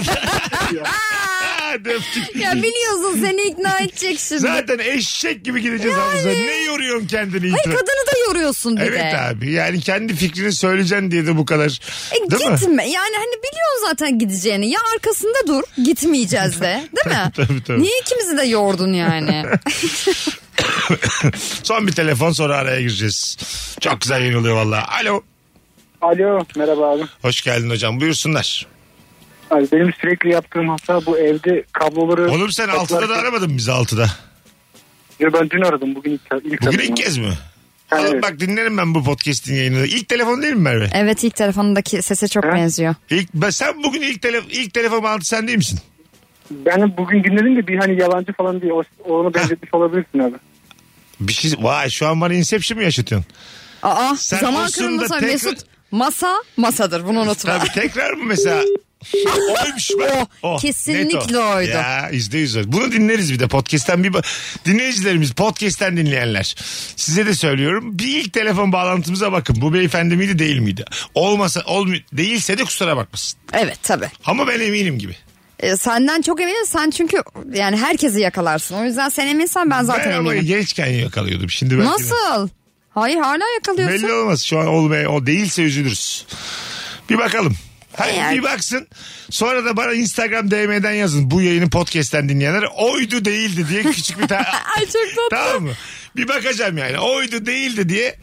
C: döptük.
D: ya biliyorsun seni ikna edecek şimdi.
C: Zaten eşek gibi gideceğiz havuza. Ne yoruyorsun kendini
D: Ay
C: itiraz?
D: kadını da yoruyorsun bir
C: Evet
D: de.
C: abi yani kendi fikrini söyleyeceksin diye de bu kadar.
D: E,
C: Değil mi?
D: gitme. Yani hani biliyorsun zaten gideceğini. Ya arkasında dur. Gitmeyeceğiz de. Değil mi?
C: Tabii, tabii.
D: Niye ikimizi de yordun yani?
C: Son bir telefon sonra araya gireceğiz. Çok güzel yayın oluyor valla. Alo.
I: Alo merhaba abi.
C: Hoş geldin hocam buyursunlar.
I: Abi benim sürekli yaptığım hata bu evde kabloları...
C: Oğlum sen
I: Toplarken-
C: altıda da aramadın bizi altıda.
I: Ya ben dün aradım bugün ilk, ilk
C: Bugün
I: aradım.
C: ilk kez mi?
I: Ha,
C: Oğlum
I: evet.
C: bak dinlerim ben bu podcast'in yayınını. İlk telefon değil mi Merve?
D: evet ilk telefonundaki sese çok benziyor.
C: İlk, ben, sen bugün ilk, telef ilk telefon bağlantı sen değil misin?
I: Ben bugün dinledim de bir hani yalancı falan diye o- ona benzetmiş olabilirsin abi.
C: Bir şey, vay şu an bana Inception mu yaşatıyorsun?
D: Aa
C: Sen
D: zaman
C: olsun da
D: kırılması var.
C: tekrar-
D: Mesut masa masadır bunu unutma.
C: Tabii tekrar mı mesela? Oymuş bak.
D: O, Oh, kesinlikle oydu.
C: Ya yüzde yüz oydu. Bunu dinleriz bir de podcast'ten bir ba- dinleyicilerimiz podcast'ten dinleyenler. Size de söylüyorum bir ilk telefon bağlantımıza bakın. Bu beyefendi miydi değil miydi? Olmasa olmu değilse de kusura bakmasın.
D: Evet tabii.
C: Ama ben eminim gibi.
D: E, senden çok eminim. Sen çünkü yani herkesi yakalarsın. O yüzden sen eminsen ben zaten
C: ben ama
D: eminim.
C: gençken yakalıyordum. Şimdi ben
D: Nasıl? Hayır hala yakalıyorsun.
C: Belli olmaz şu an olmaya o değilse üzülürüz. Bir bakalım. Hayır
D: Eğer-
C: bir baksın. Sonra da bana Instagram DM'den yazın. Bu yayını podcast'ten dinleyenler oydu değildi diye küçük bir tane
D: Ay çok tatlı.
C: Tamam mı? Bir bakacağım yani. Oydu değildi diye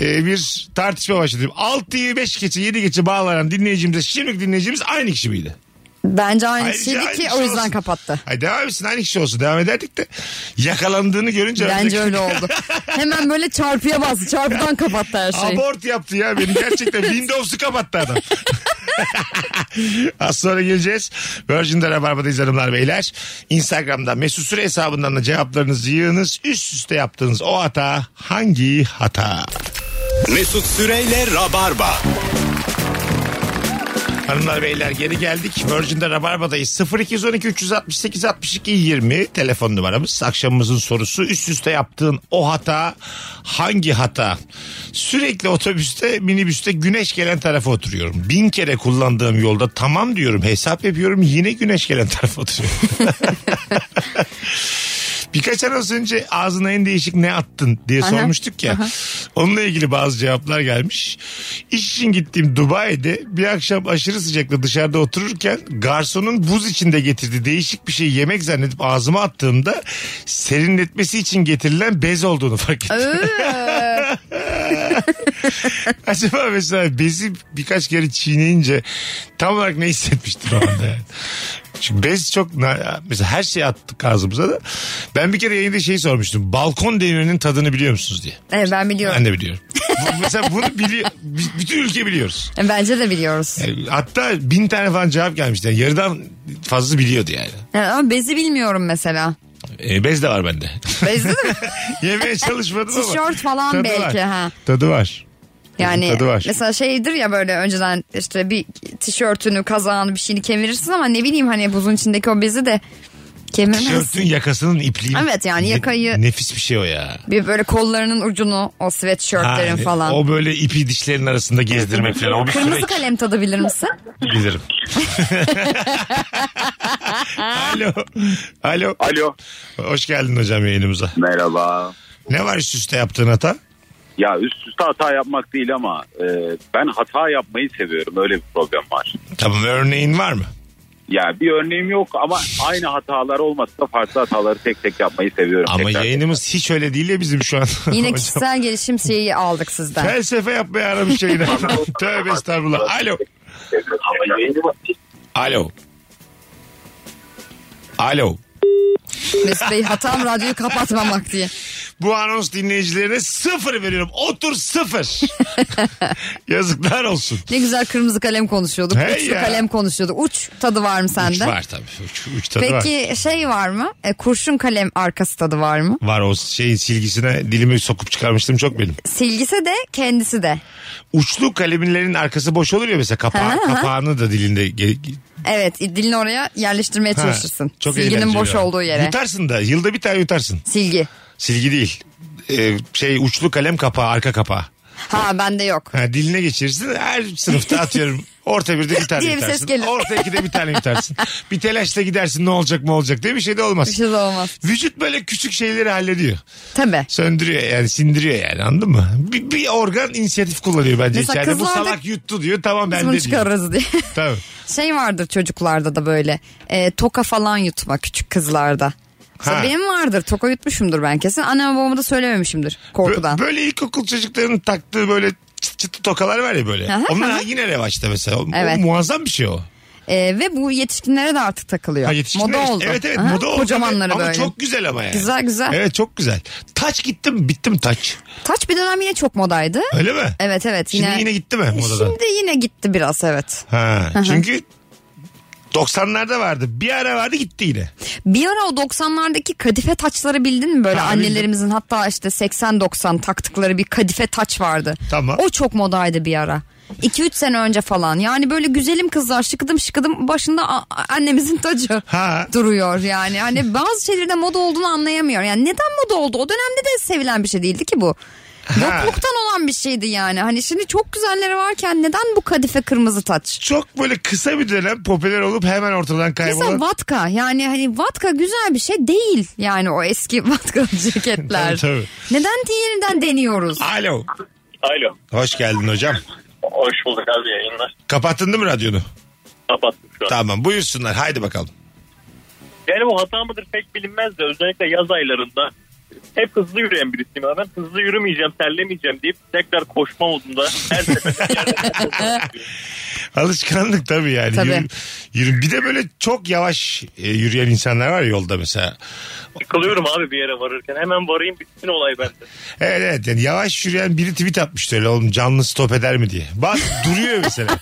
C: e, bir tartışma başladım. 6'yı 5 geçe 7 geçe bağlanan dinleyicimizle şimdiki dinleyicimiz aynı kişi miydi?
D: Bence aynı
C: Ayrıca
D: şeydi
C: aynı
D: ki
C: kişi
D: Hani o yüzden
C: olsun.
D: kapattı.
C: Ay devam etsin aynı kişi olsun devam ederdik de yakalandığını görünce
D: Bence
C: önceki-
D: öyle oldu. Hemen böyle çarpıya bastı. Çarpıdan kapattı her şey. şeyi.
C: Abort yaptı ya beni gerçekten Windows'u kapattı adam. Az sonra geleceğiz. Virgin'de Rabarba'dayız hanımlar beyler. Instagram'da Mesut Süre hesabından da cevaplarınızı yığınız. Üst üste yaptığınız o hata hangi hata?
B: Mesut Süreyle Rabarba.
C: Hanımlar beyler geri geldik. Virgin'de Rabarba'dayız. 0212 368 62 20 telefon numaramız. Akşamımızın sorusu üst üste yaptığın o hata hangi hata? Sürekli otobüste minibüste güneş gelen tarafa oturuyorum. Bin kere kullandığım yolda tamam diyorum hesap yapıyorum yine güneş gelen tarafa oturuyorum. Birkaç anons önce ağzına en değişik ne attın diye
D: Aha.
C: sormuştuk ya. Onunla ilgili bazı cevaplar gelmiş. İş için gittiğim Dubai'de bir akşam aşırı sıcakta dışarıda otururken garsonun buz içinde getirdiği değişik bir şey yemek zannedip ağzıma attığımda serinletmesi için getirilen bez olduğunu fark ettim. Acaba mesela bezi birkaç kere çiğneyince tam olarak ne hissetmiştim o anda yani? Çünkü bez çok na- mesela her şeyi attık ağzımıza da. Ben bir kere yayında şeyi sormuştum. Balkon devrinin tadını biliyor musunuz diye.
D: Evet ben biliyorum.
C: Ben de biliyorum. Bu- mesela bunu biliyor. bi- Bütün ülke biliyoruz.
D: E, Bence de biliyoruz.
C: Yani hatta bin tane falan cevap gelmişti. Yani yarıdan fazla biliyordu yani.
D: Yani E, ama bezi bilmiyorum mesela.
C: E, bez de var bende.
D: Bezi de mi?
C: Yemeye çalışmadım ama.
D: Tişört falan
C: tadı
D: belki,
C: Var.
D: ha.
C: Tadı var.
D: Yani
C: tadı var.
D: mesela şeydir ya böyle önceden işte bir tişörtünü kazağını bir şeyini kemirirsin ama ne bileyim hani buzun içindeki o bezi de kemirmezsin.
C: Tişörtün yakasının ipliği.
D: Evet yani
C: Ne-
D: yakayı-
C: nefis bir şey o ya.
D: Bir böyle kollarının ucunu o sweatshirtlerin
C: Ha, e,
D: falan.
C: O böyle ipi dişlerin arasında gezdirmek falan. O bir
D: Kırmızı
C: süreç.
D: kalem tadı bilir misin?
C: Bilirim. Alo. Alo.
H: Alo.
C: Hoş geldin hocam yayınımıza.
H: Merhaba.
C: Ne var üst üste yaptığın hata?
N: Ya üst üste hata yapmak değil ama e, ben hata yapmayı seviyorum. Öyle bir problem var.
C: Tamam örneğin var mı?
N: Ya bir örneğim yok ama aynı hatalar olmasa da farklı hataları tek tek yapmayı seviyorum.
C: Ama
N: Tekrar-
C: yayınımız hiç öyle değil ya bizim şu an.
D: Yine
C: Hocam,
D: kişisel gelişim şeyi aldık sizden.
C: Felsefe yapmaya aramış yayını. Tövbe estağfurullah. Alo. Alo. Alo.
D: Mesut Bey hatam radyoyu kapatmamak diye.
C: Bu anons dinleyicilerine sıfır veriyorum. Otur sıfır. Yazıklar olsun.
D: Ne güzel kırmızı kalem konuşuyorduk.
C: Hey
D: uçlu
C: ya.
D: kalem konuşuyorduk. Uç tadı var mı sende?
C: Üç var tabii. Üç, üç tadı var.
D: Peki şey var mı? E, kurşun kalem arkası tadı var mı?
C: Var o şeyin silgisine dilimi sokup çıkarmıştım çok benim.
D: Silgisi de kendisi de.
C: Uçlu kaleminlerin arkası boş olur ya mesela kapağı,
D: Ha, ha.
C: kapağını da dilinde ge-
D: Evet dilini oraya yerleştirmeye
C: Ha,
D: çalışırsın.
C: çok
D: Silginin
C: eğlenceli
D: boş
C: abi.
D: olduğu yere.
C: Yutarsın da yılda bir tane yutarsın.
D: Silgi.
C: Silgi değil. Ee, şey uçlu kalem kapağı arka kapağı.
D: Ha bende yok.
C: Ha, diline geçirirsin her sınıfta atıyorum orta birde bir tane
D: Diye bir ses
C: yutarsın.
D: gelir.
C: orta ikide bir tane yutarsın. bir telaşla gidersin ne olacak mı olacak diye bir şey de olmaz.
D: Bir şey de olmaz.
C: Vücut böyle küçük şeyleri hallediyor.
D: Tabii.
C: Söndürüyor yani sindiriyor yani anladın mı? Bir, bir organ inisiyatif kullanıyor bence
D: Mesela
C: içeride. Bu
D: kızlarda-
C: salak yuttu diyor tamam
D: Biz
C: ben
D: bunu
C: de diyor.
D: çıkarırız diye.
C: Tabii.
D: şey vardır çocuklarda da böyle e, toka falan yutma küçük kızlarda. Mesela
C: Ha.
D: benim vardır toka yutmuşumdur ben kesin. Anneme babama da söylememişimdir korkudan.
C: Bö- Böyle ilkokul çocuklarının taktığı böyle çıt çıtlı tokalar var ya böyle.
D: Aha,
C: Onlar
D: aha.
C: yine revaçta mesela. O- o
D: Evet.
C: muazzam bir şey o.
D: E, ve bu yetişkinlere de artık takılıyor.
C: Ha, yetişkinler
D: moda
C: işte.
D: oldu.
C: Evet evet
D: Aha,
C: moda oldu.
D: Kocamanları
C: ama
D: böyle.
C: çok güzel ama yani.
D: Güzel güzel.
C: Evet çok güzel. Taç gittim bittim taç.
D: Taç bir dönem yine çok modaydı.
C: Öyle mi?
D: Evet evet
C: Şimdi
D: yine. E,
C: yine gitti mi modadan?
D: Şimdi yine gitti biraz evet.
C: Ha, çünkü 90'larda vardı. Bir ara vardı gitti yine.
D: Bir ara o 90'lardaki kadife taçları bildin mi böyle
C: Ha,
D: annelerimizin hatta işte 80-90 taktıkları bir kadife taç vardı.
C: Tamam.
D: O çok modaydı bir ara. 2-3 sene önce falan yani böyle güzelim kızlar şıkıdım şıkıdım başında a- a- annemizin tacı
C: Ha.
D: duruyor yani. Hani bazı şeylerde moda olduğunu anlayamıyorum. Yani neden moda oldu? O dönemde de sevilen bir şey değildi ki bu. Yokluktan olan bir şeydi yani. Hani şimdi çok güzelleri varken neden bu kadife kırmızı taç?
C: Çok böyle kısa bir dönem popüler olup hemen ortadan
D: Mesela
C: kaybolan.
D: vatka yani hani vatka güzel bir şey değil yani o eski vatka ceketler.
C: Tabii, tabii.
D: Neden diğerinden deniyoruz?
C: Alo.
I: Alo.
C: Hoş geldin hocam.
I: Hoş bulduk abi yayınlar.
C: Kapattın değil mi radyonu?
I: Kapattık şu an.
C: Tamam buyursunlar. Haydi bakalım.
I: Benim o hata mıdır pek bilinmez de özellikle yaz aylarında hep hızlı yürüyen birisiyim. ama Ben hızlı yürümeyeceğim, terlemeyeceğim deyip tekrar koşma modunda her seferinde
C: Alışkanlık tabii yani.
D: Tabii.
C: Yürü, yürü- Bir de böyle çok yavaş e, yürüyen insanlar var yolda mesela.
I: yıkılıyorum abi bir yere varırken. Hemen varayım bitsin olay bende.
C: Evet evet yani yavaş yürüyen biri tweet atmıştı öyle oğlum canlı stop eder mi diye. Bak duruyor mesela.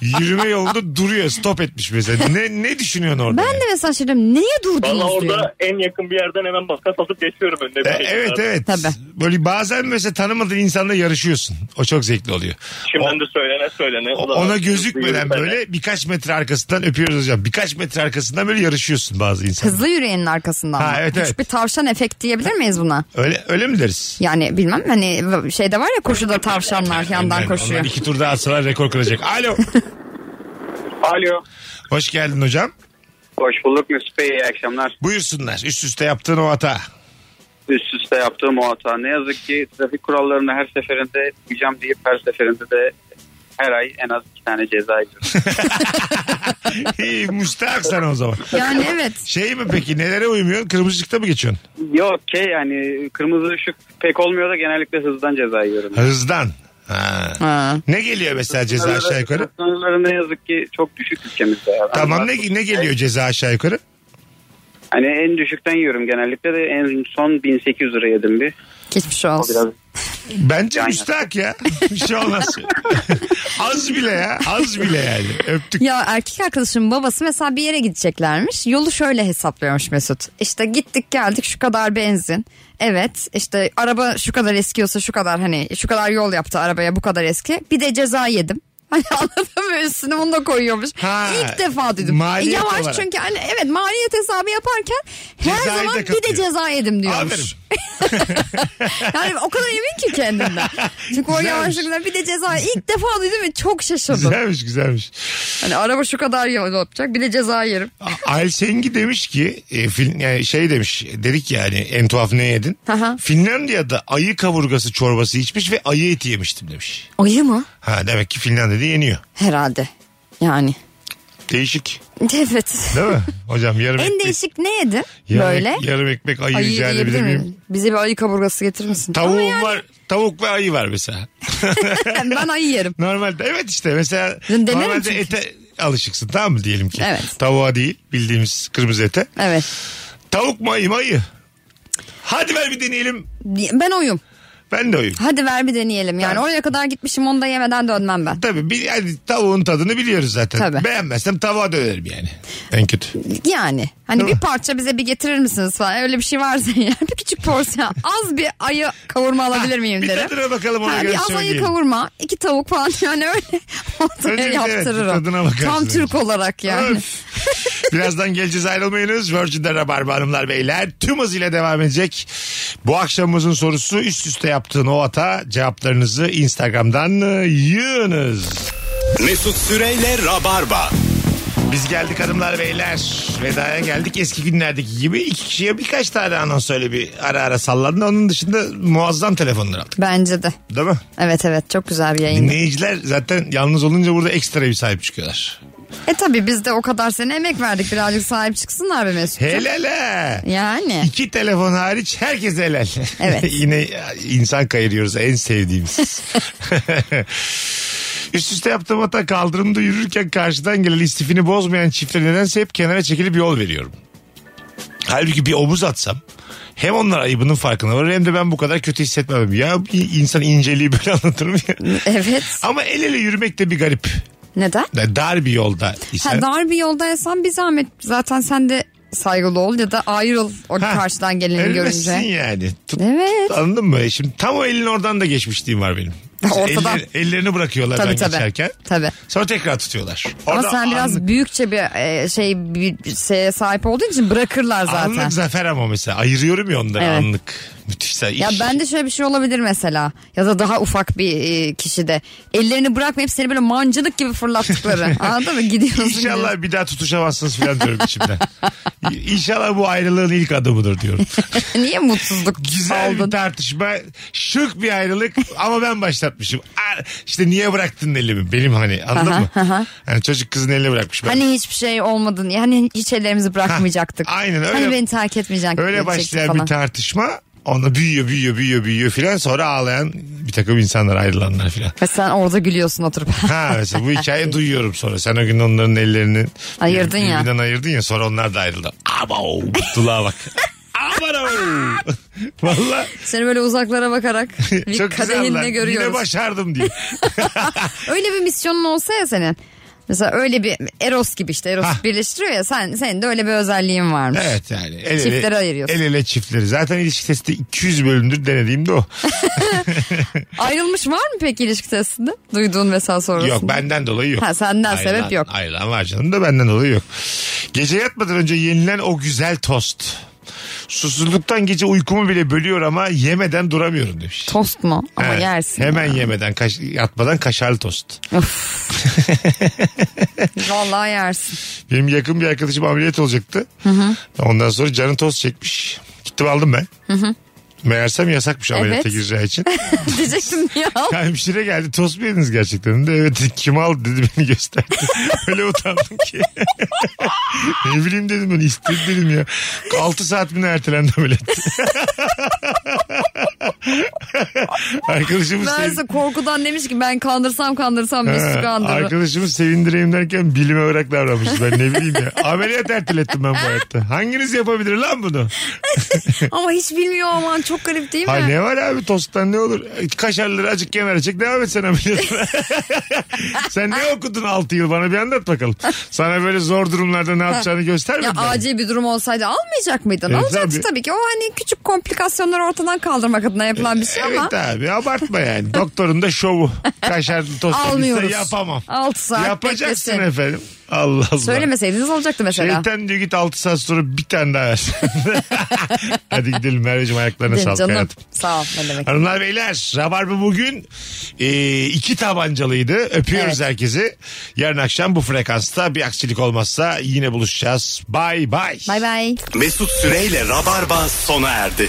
C: Yürüme yolunda duruyor stop etmiş mesela. Ne, ne düşünüyorsun orada?
D: Ben
C: yani?
D: de mesela şaşırdım. Neye durdunuz
I: Valla
D: diyor.
I: orada en yakın bir yerden hemen makas atıp geçiyorum önüne.
C: E,
I: bir şey
C: Evet
I: çıkar.
C: evet.
D: Tabii.
C: Böyle bazen mesela tanımadığın insanla yarışıyorsun. O çok zevkli oluyor. O-
I: Şimdiden de söylene söylene.
C: O-
I: Ulan
C: Ona
I: hızlı
C: gözükmeden
I: yürüsene.
C: böyle birkaç metre arkasından öpüyoruz hocam. Birkaç metre arkasından böyle yarışıyorsun bazı insanlar.
D: Hızlı yürüyenin arkasından.
C: Ha,
D: mı?
C: evet,
D: Küçük
C: evet.
D: bir tavşan efekt diyebilir miyiz buna?
C: Öyle, öyle mi deriz?
D: Yani bilmem hani şeyde var ya koşuda tavşanlar yandan
C: Yani
D: koşuyor.
C: onlar iki tur daha atsalar rekor kıracak. Alo.
E: Alo.
C: Hoş geldin hocam.
N: Hoş bulduk Mesut Bey iyi akşamlar.
C: Buyursunlar. Üst üste yaptığın o hata.
N: Üst üste yaptığım o hata. Ne yazık ki trafik kurallarını her seferinde uyacağım deyip her seferinde de her ay en az iki tane ceza yiyorum.
C: İyi müstahak sen o zaman.
D: Yani evet.
C: Şey mi peki nelere uymuyorsun? Kırmızı ışıkta mı geçiyorsun?
N: Yok ki yani kırmızı ışık pek olmuyor da genellikle hızdan ceza yiyorum.
C: Hızdan. Ha.
D: Ha.
C: Ne geliyor mesela ceza aşağı yukarı?
N: Sınırları ne yazık ki çok düşük ülkemizde. ya.
C: Tamam
N: Yani
C: ne, ne geliyor ceza aşağı yukarı?
N: Hani en düşükten yiyorum genellikle de en son 1800 lira yedim bir.
D: Geçmiş
N: O biraz
D: olsun.
C: Bence
N: Aynen.
C: müstahak ya. Bir şey olmaz. az bile ya. Az bile yani. Öptük.
D: Ya erkek arkadaşımın babası mesela bir yere gideceklermiş. Yolu şöyle hesaplıyormuş Mesut. İşte gittik geldik şu kadar benzin. Evet işte araba şu kadar eskiyorsa şu kadar hani şu kadar yol yaptı arabaya bu kadar eski. Bir de ceza yedim. Hani anladın mı üstüne bunu da koyuyormuş.
C: Ha,
D: İlk defa duydum. E,
C: maliyet
D: Yavaş
C: olarak.
D: çünkü hani evet maliyet hesabı yaparken her
C: Cezayı da
D: zaman bir de
C: katıyor.
D: ceza yedim diyormuş. yani o kadar emin ki kendinden. Çünkü o
C: Güzelmiş.
D: yavaşlıkla bir de ceza ilk defa duydum ve çok şaşırdım.
C: Güzelmiş güzelmiş.
D: Hani araba şu kadar yol yapacak bir de ceza yerim.
C: Alsengi demiş ki e, film, yani şey demiş dedik yani en tuhaf ne yedin?
D: Aha.
C: Finlandiya'da ayı kaburgası çorbası içmiş ve ayı eti yemiştim demiş.
D: Ayı mı?
C: Ha demek ki Finlandiya'da yeniyor.
D: Herhalde. Yani.
C: Değişik
D: Evet.
C: değil mi? Hocam yarım
D: en
C: ekmek,
D: değişik ne yedin?
C: yarım,
D: Böyle.
C: ek- yarım ekmek ayı,
D: Ayı
C: rica
D: yiyebilir
C: edebilir miyim?
D: miyim? Bize bir ayı kaburgası getirir misin?
C: Tavuğum var. Tavuk ve ayı var mesela.
D: ben ayı yerim.
C: Normalde evet işte mesela
D: Ben denerim
C: normalde
D: çünkü.
C: ete alışıksın tamam mı diyelim ki.
D: Evet.
C: Tavuğa değil bildiğimiz kırmızı ete.
D: Evet.
C: Tavuk mu ayı mı ayı? Hadi ver bir deneyelim.
D: Ben oyum.
C: Ben de oyum.
D: Hadi ver bir deneyelim. Yani oraya kadar gitmişim onu da yemeden dönmem ben.
C: Tabii bir, yani tavuğun tadını biliyoruz zaten.
D: Tabii.
C: Beğenmezsem tavuğa dönerim yani. En kötü.
D: Yani hani
C: Değil mi?
D: bir parça bize bir getirir misiniz falan öyle bir şey varsa yani bir küçük porsiyon az bir ayı kavurma alabilir miyim
C: Bir
D: derim.
C: tadına bakalım ona
D: Ha,
C: göre
D: bir az ayı
C: söyleyeyim.
D: kavurma iki tavuk falan yani öyle ortaya
C: Önce bir- evet,
D: yaptırırım.
C: bir tadına bakarsın
D: Tam
C: önce.
D: Türk olarak yani.
C: Öf. Birazdan geleceğiz ayrılmayınız. Virgin'de Rabarba Hanımlar Beyler tüm hızıyla devam edecek. Bu akşamımızın sorusu üst üste yaptığın o hata cevaplarınızı Instagram'dan e, yığınız.
B: Mesut Süreyle Rabarba.
C: Biz geldik hanımlar beyler. Vedaya geldik eski günlerdeki gibi. iki kişiye birkaç tane anons öyle bir ara ara sallandı. Onun dışında muazzam telefonlar aldık.
D: Bence de.
C: Değil mi?
D: Evet evet çok güzel bir yayın.
C: Dinleyiciler zaten yalnız olunca burada ekstra bir sahip çıkıyorlar.
D: E tabi biz de o kadar sene emek verdik birazcık sahip çıksınlar be Mesut'cum.
C: Helal he.
D: Yani.
C: İki telefon hariç herkes helal.
D: Evet.
C: Yine insan kayırıyoruz en sevdiğimiz. Üst üste yaptığım hata kaldırımda yürürken karşıdan gelen istifini bozmayan çiftlere nedense hep kenara çekilip yol veriyorum. Halbuki bir omuz atsam hem onlar ayıbının farkına varır hem de ben bu kadar kötü hissetmem. Ya bir insan inceliği böyle anlatır mı ya?
D: Evet.
C: Ama el ele yürümek de bir garip.
D: Neden?
C: Yani Dar bir yolda.
D: Ha, dar bir yoldaysan bir zahmet zaten sen de saygılı ol ya da ayrıl o
C: Ha,
D: karşıdan geleni
C: Ölmesin
D: görünce.
C: yani. Tut,
D: Evet.
C: Anladın mı? E, Şimdi tam o elin oradan da geçmişliğim var benim.
D: Ortadan.
C: Eller- ellerini bırakıyorlar
D: Tabii
C: ben
D: tabii.
C: geçerken.
D: Tabii.
C: Sonra tekrar tutuyorlar.
D: Ama
C: Orada
D: sen biraz
C: anlık-
D: büyükçe bir e, şey bir şeye sahip olduğun için bırakırlar zaten.
C: Anlık zafer ama mesela. Ayırıyorum ya onları
D: Evet.
C: anlık. Müthiş.
D: Ya bende şöyle bir şey olabilir mesela ya da daha ufak bir e, kişide ellerini bırakmayıp seni böyle mancınık gibi fırlattıkları anladın mı gidiyorsun. gidiyorsun.
C: İnşallah bir daha tutuşamazsınız falan diyorum içimden. İnşallah bu ayrılığın ilk adımıdır diyorum.
D: Niye mutsuzluk
C: Güzel bir
D: aldın?
C: tartışma. Şık bir ayrılık ama ben başlatmışım. Aa, İşte niye bıraktın elimi? Benim hani anladın
D: Aha,
C: mı?
D: aha.
C: Yani çocuk kızın elini bırakmış. Ben
D: Hani hiçbir şey olmadın yani hiç ellerimizi bırakmayacaktık.
C: Ha, aynen öyle.
D: Hani beni terk etmeyecektin.
C: Öyle başlayan bir tartışma onda büyüyor büyüyor büyüyor büyüyor filan sonra ağlayan bir takım insanlar ayrılanlar filan.
D: Ve sen orada gülüyorsun oturup.
C: Ha mesela bu hikayeyi duyuyorum sonra. Sen o gün onların ellerini
D: Ayırdın ya.
C: birbirinden ayırdın ya sonra onlar da ayrıldı. Abo mutluluğa bak. Abo. Valla
D: Seni böyle uzaklara bakarak bir
C: çok güzel lan.
D: kadehinle
C: Yine
D: görüyoruz.
C: başardım diye.
D: Öyle bir misyonun olsa ya senin. Mesela öyle bir Eros gibi işte Eros
C: Hah.
D: birleştiriyor ya sen senin de öyle bir özelliğin varmış.
C: Evet yani. El ele,
D: Çiftleri ayırıyorsun.
C: El ele çiftleri. Zaten ilişki testi 200 bölümdür denediğim de o.
D: Ayrılmış var mı peki ilişki testinde? Duyduğun mesela sonrasında.
C: Yok benden dolayı yok.
D: Ha, senden sebep yok.
C: Ayrılan var canım da benden dolayı yok. Gece yatmadan önce yenilen o güzel tost. Susuzluktan gece uykumu bile bölüyor ama yemeden duramıyorum demiş.
D: Tost mu? Ama
C: Evet.
D: yersin.
C: Hemen yemeden kaş- yatmadan kaşarlı tost.
D: Of. Vallahi yersin.
C: Benim yakın bir arkadaşım ameliyat olacaktı. Ondan sonra canı tost çekmiş. Gittim aldım ben. Meğersem yasakmış ameliyata
D: Evet.
C: gireceği için.
D: Diyecektim ya.
C: Ya hemşire geldi tost mu yediniz gerçekten? De, evet dedi, kim aldı dedi beni gösterdi. Öyle utandım ki. ne bileyim dedim ben istedim dedim ya. 6 saat mi ne ertelendi ameliyat? Arkadaşımız
D: Meğerse korkudan demiş ki ben kandırsam kandırsam Mesut
C: Ha,
D: kandırır.
C: arkadaşımı sevindireyim derken bilime olarak davranmış. Ben ne bileyim ya. Ameliyat ertelettim ben bu hayatta. Hanginiz yapabilir lan bunu?
D: Ama hiç bilmiyor aman çok garip değil mi?
C: Ha ne var abi tosttan ne olur? Kaşarları acık kenara çek devam et sen ameliyatına. sen ne okudun 6 yıl bana bir anlat bakalım. Sana böyle zor durumlarda ne yapacağını
D: Ya
C: göstermedin. mi?
D: acil bir durum olsaydı almayacak mıydın?
C: E,
D: Alacaktı
C: tabii.
D: tabii. ki. O hani küçük komplikasyonları ortadan kaldırmak adına yapılan bir şey ama.
C: Evet abi abartma yani. Doktorun da şovu. Kaşarlı tost pizza
D: Almıyoruz.
C: yapamam.
D: 6 saat
C: Yapacaksın
D: beklesin.
C: efendim. Allah Allah.
D: Söylemeseydiniz olacaktı mesela.
C: Şeytan diyor git 6 saat sonra bir tane daha ver. Hadi gidelim Merveciğim ayaklarına
D: Değil mi
C: sağlık
D: canım.
C: hayatım.
D: Sağ ol ne demek.
C: Hanımlar beyler Rabarba bugün e, iki tabancalıydı. Öpüyoruz herkesi. Yarın akşam bu frekansta bir aksilik olmazsa yine buluşacağız. Bay bay.
D: Bay bay.
B: Mesut Süreyle Rabarba sona erdi.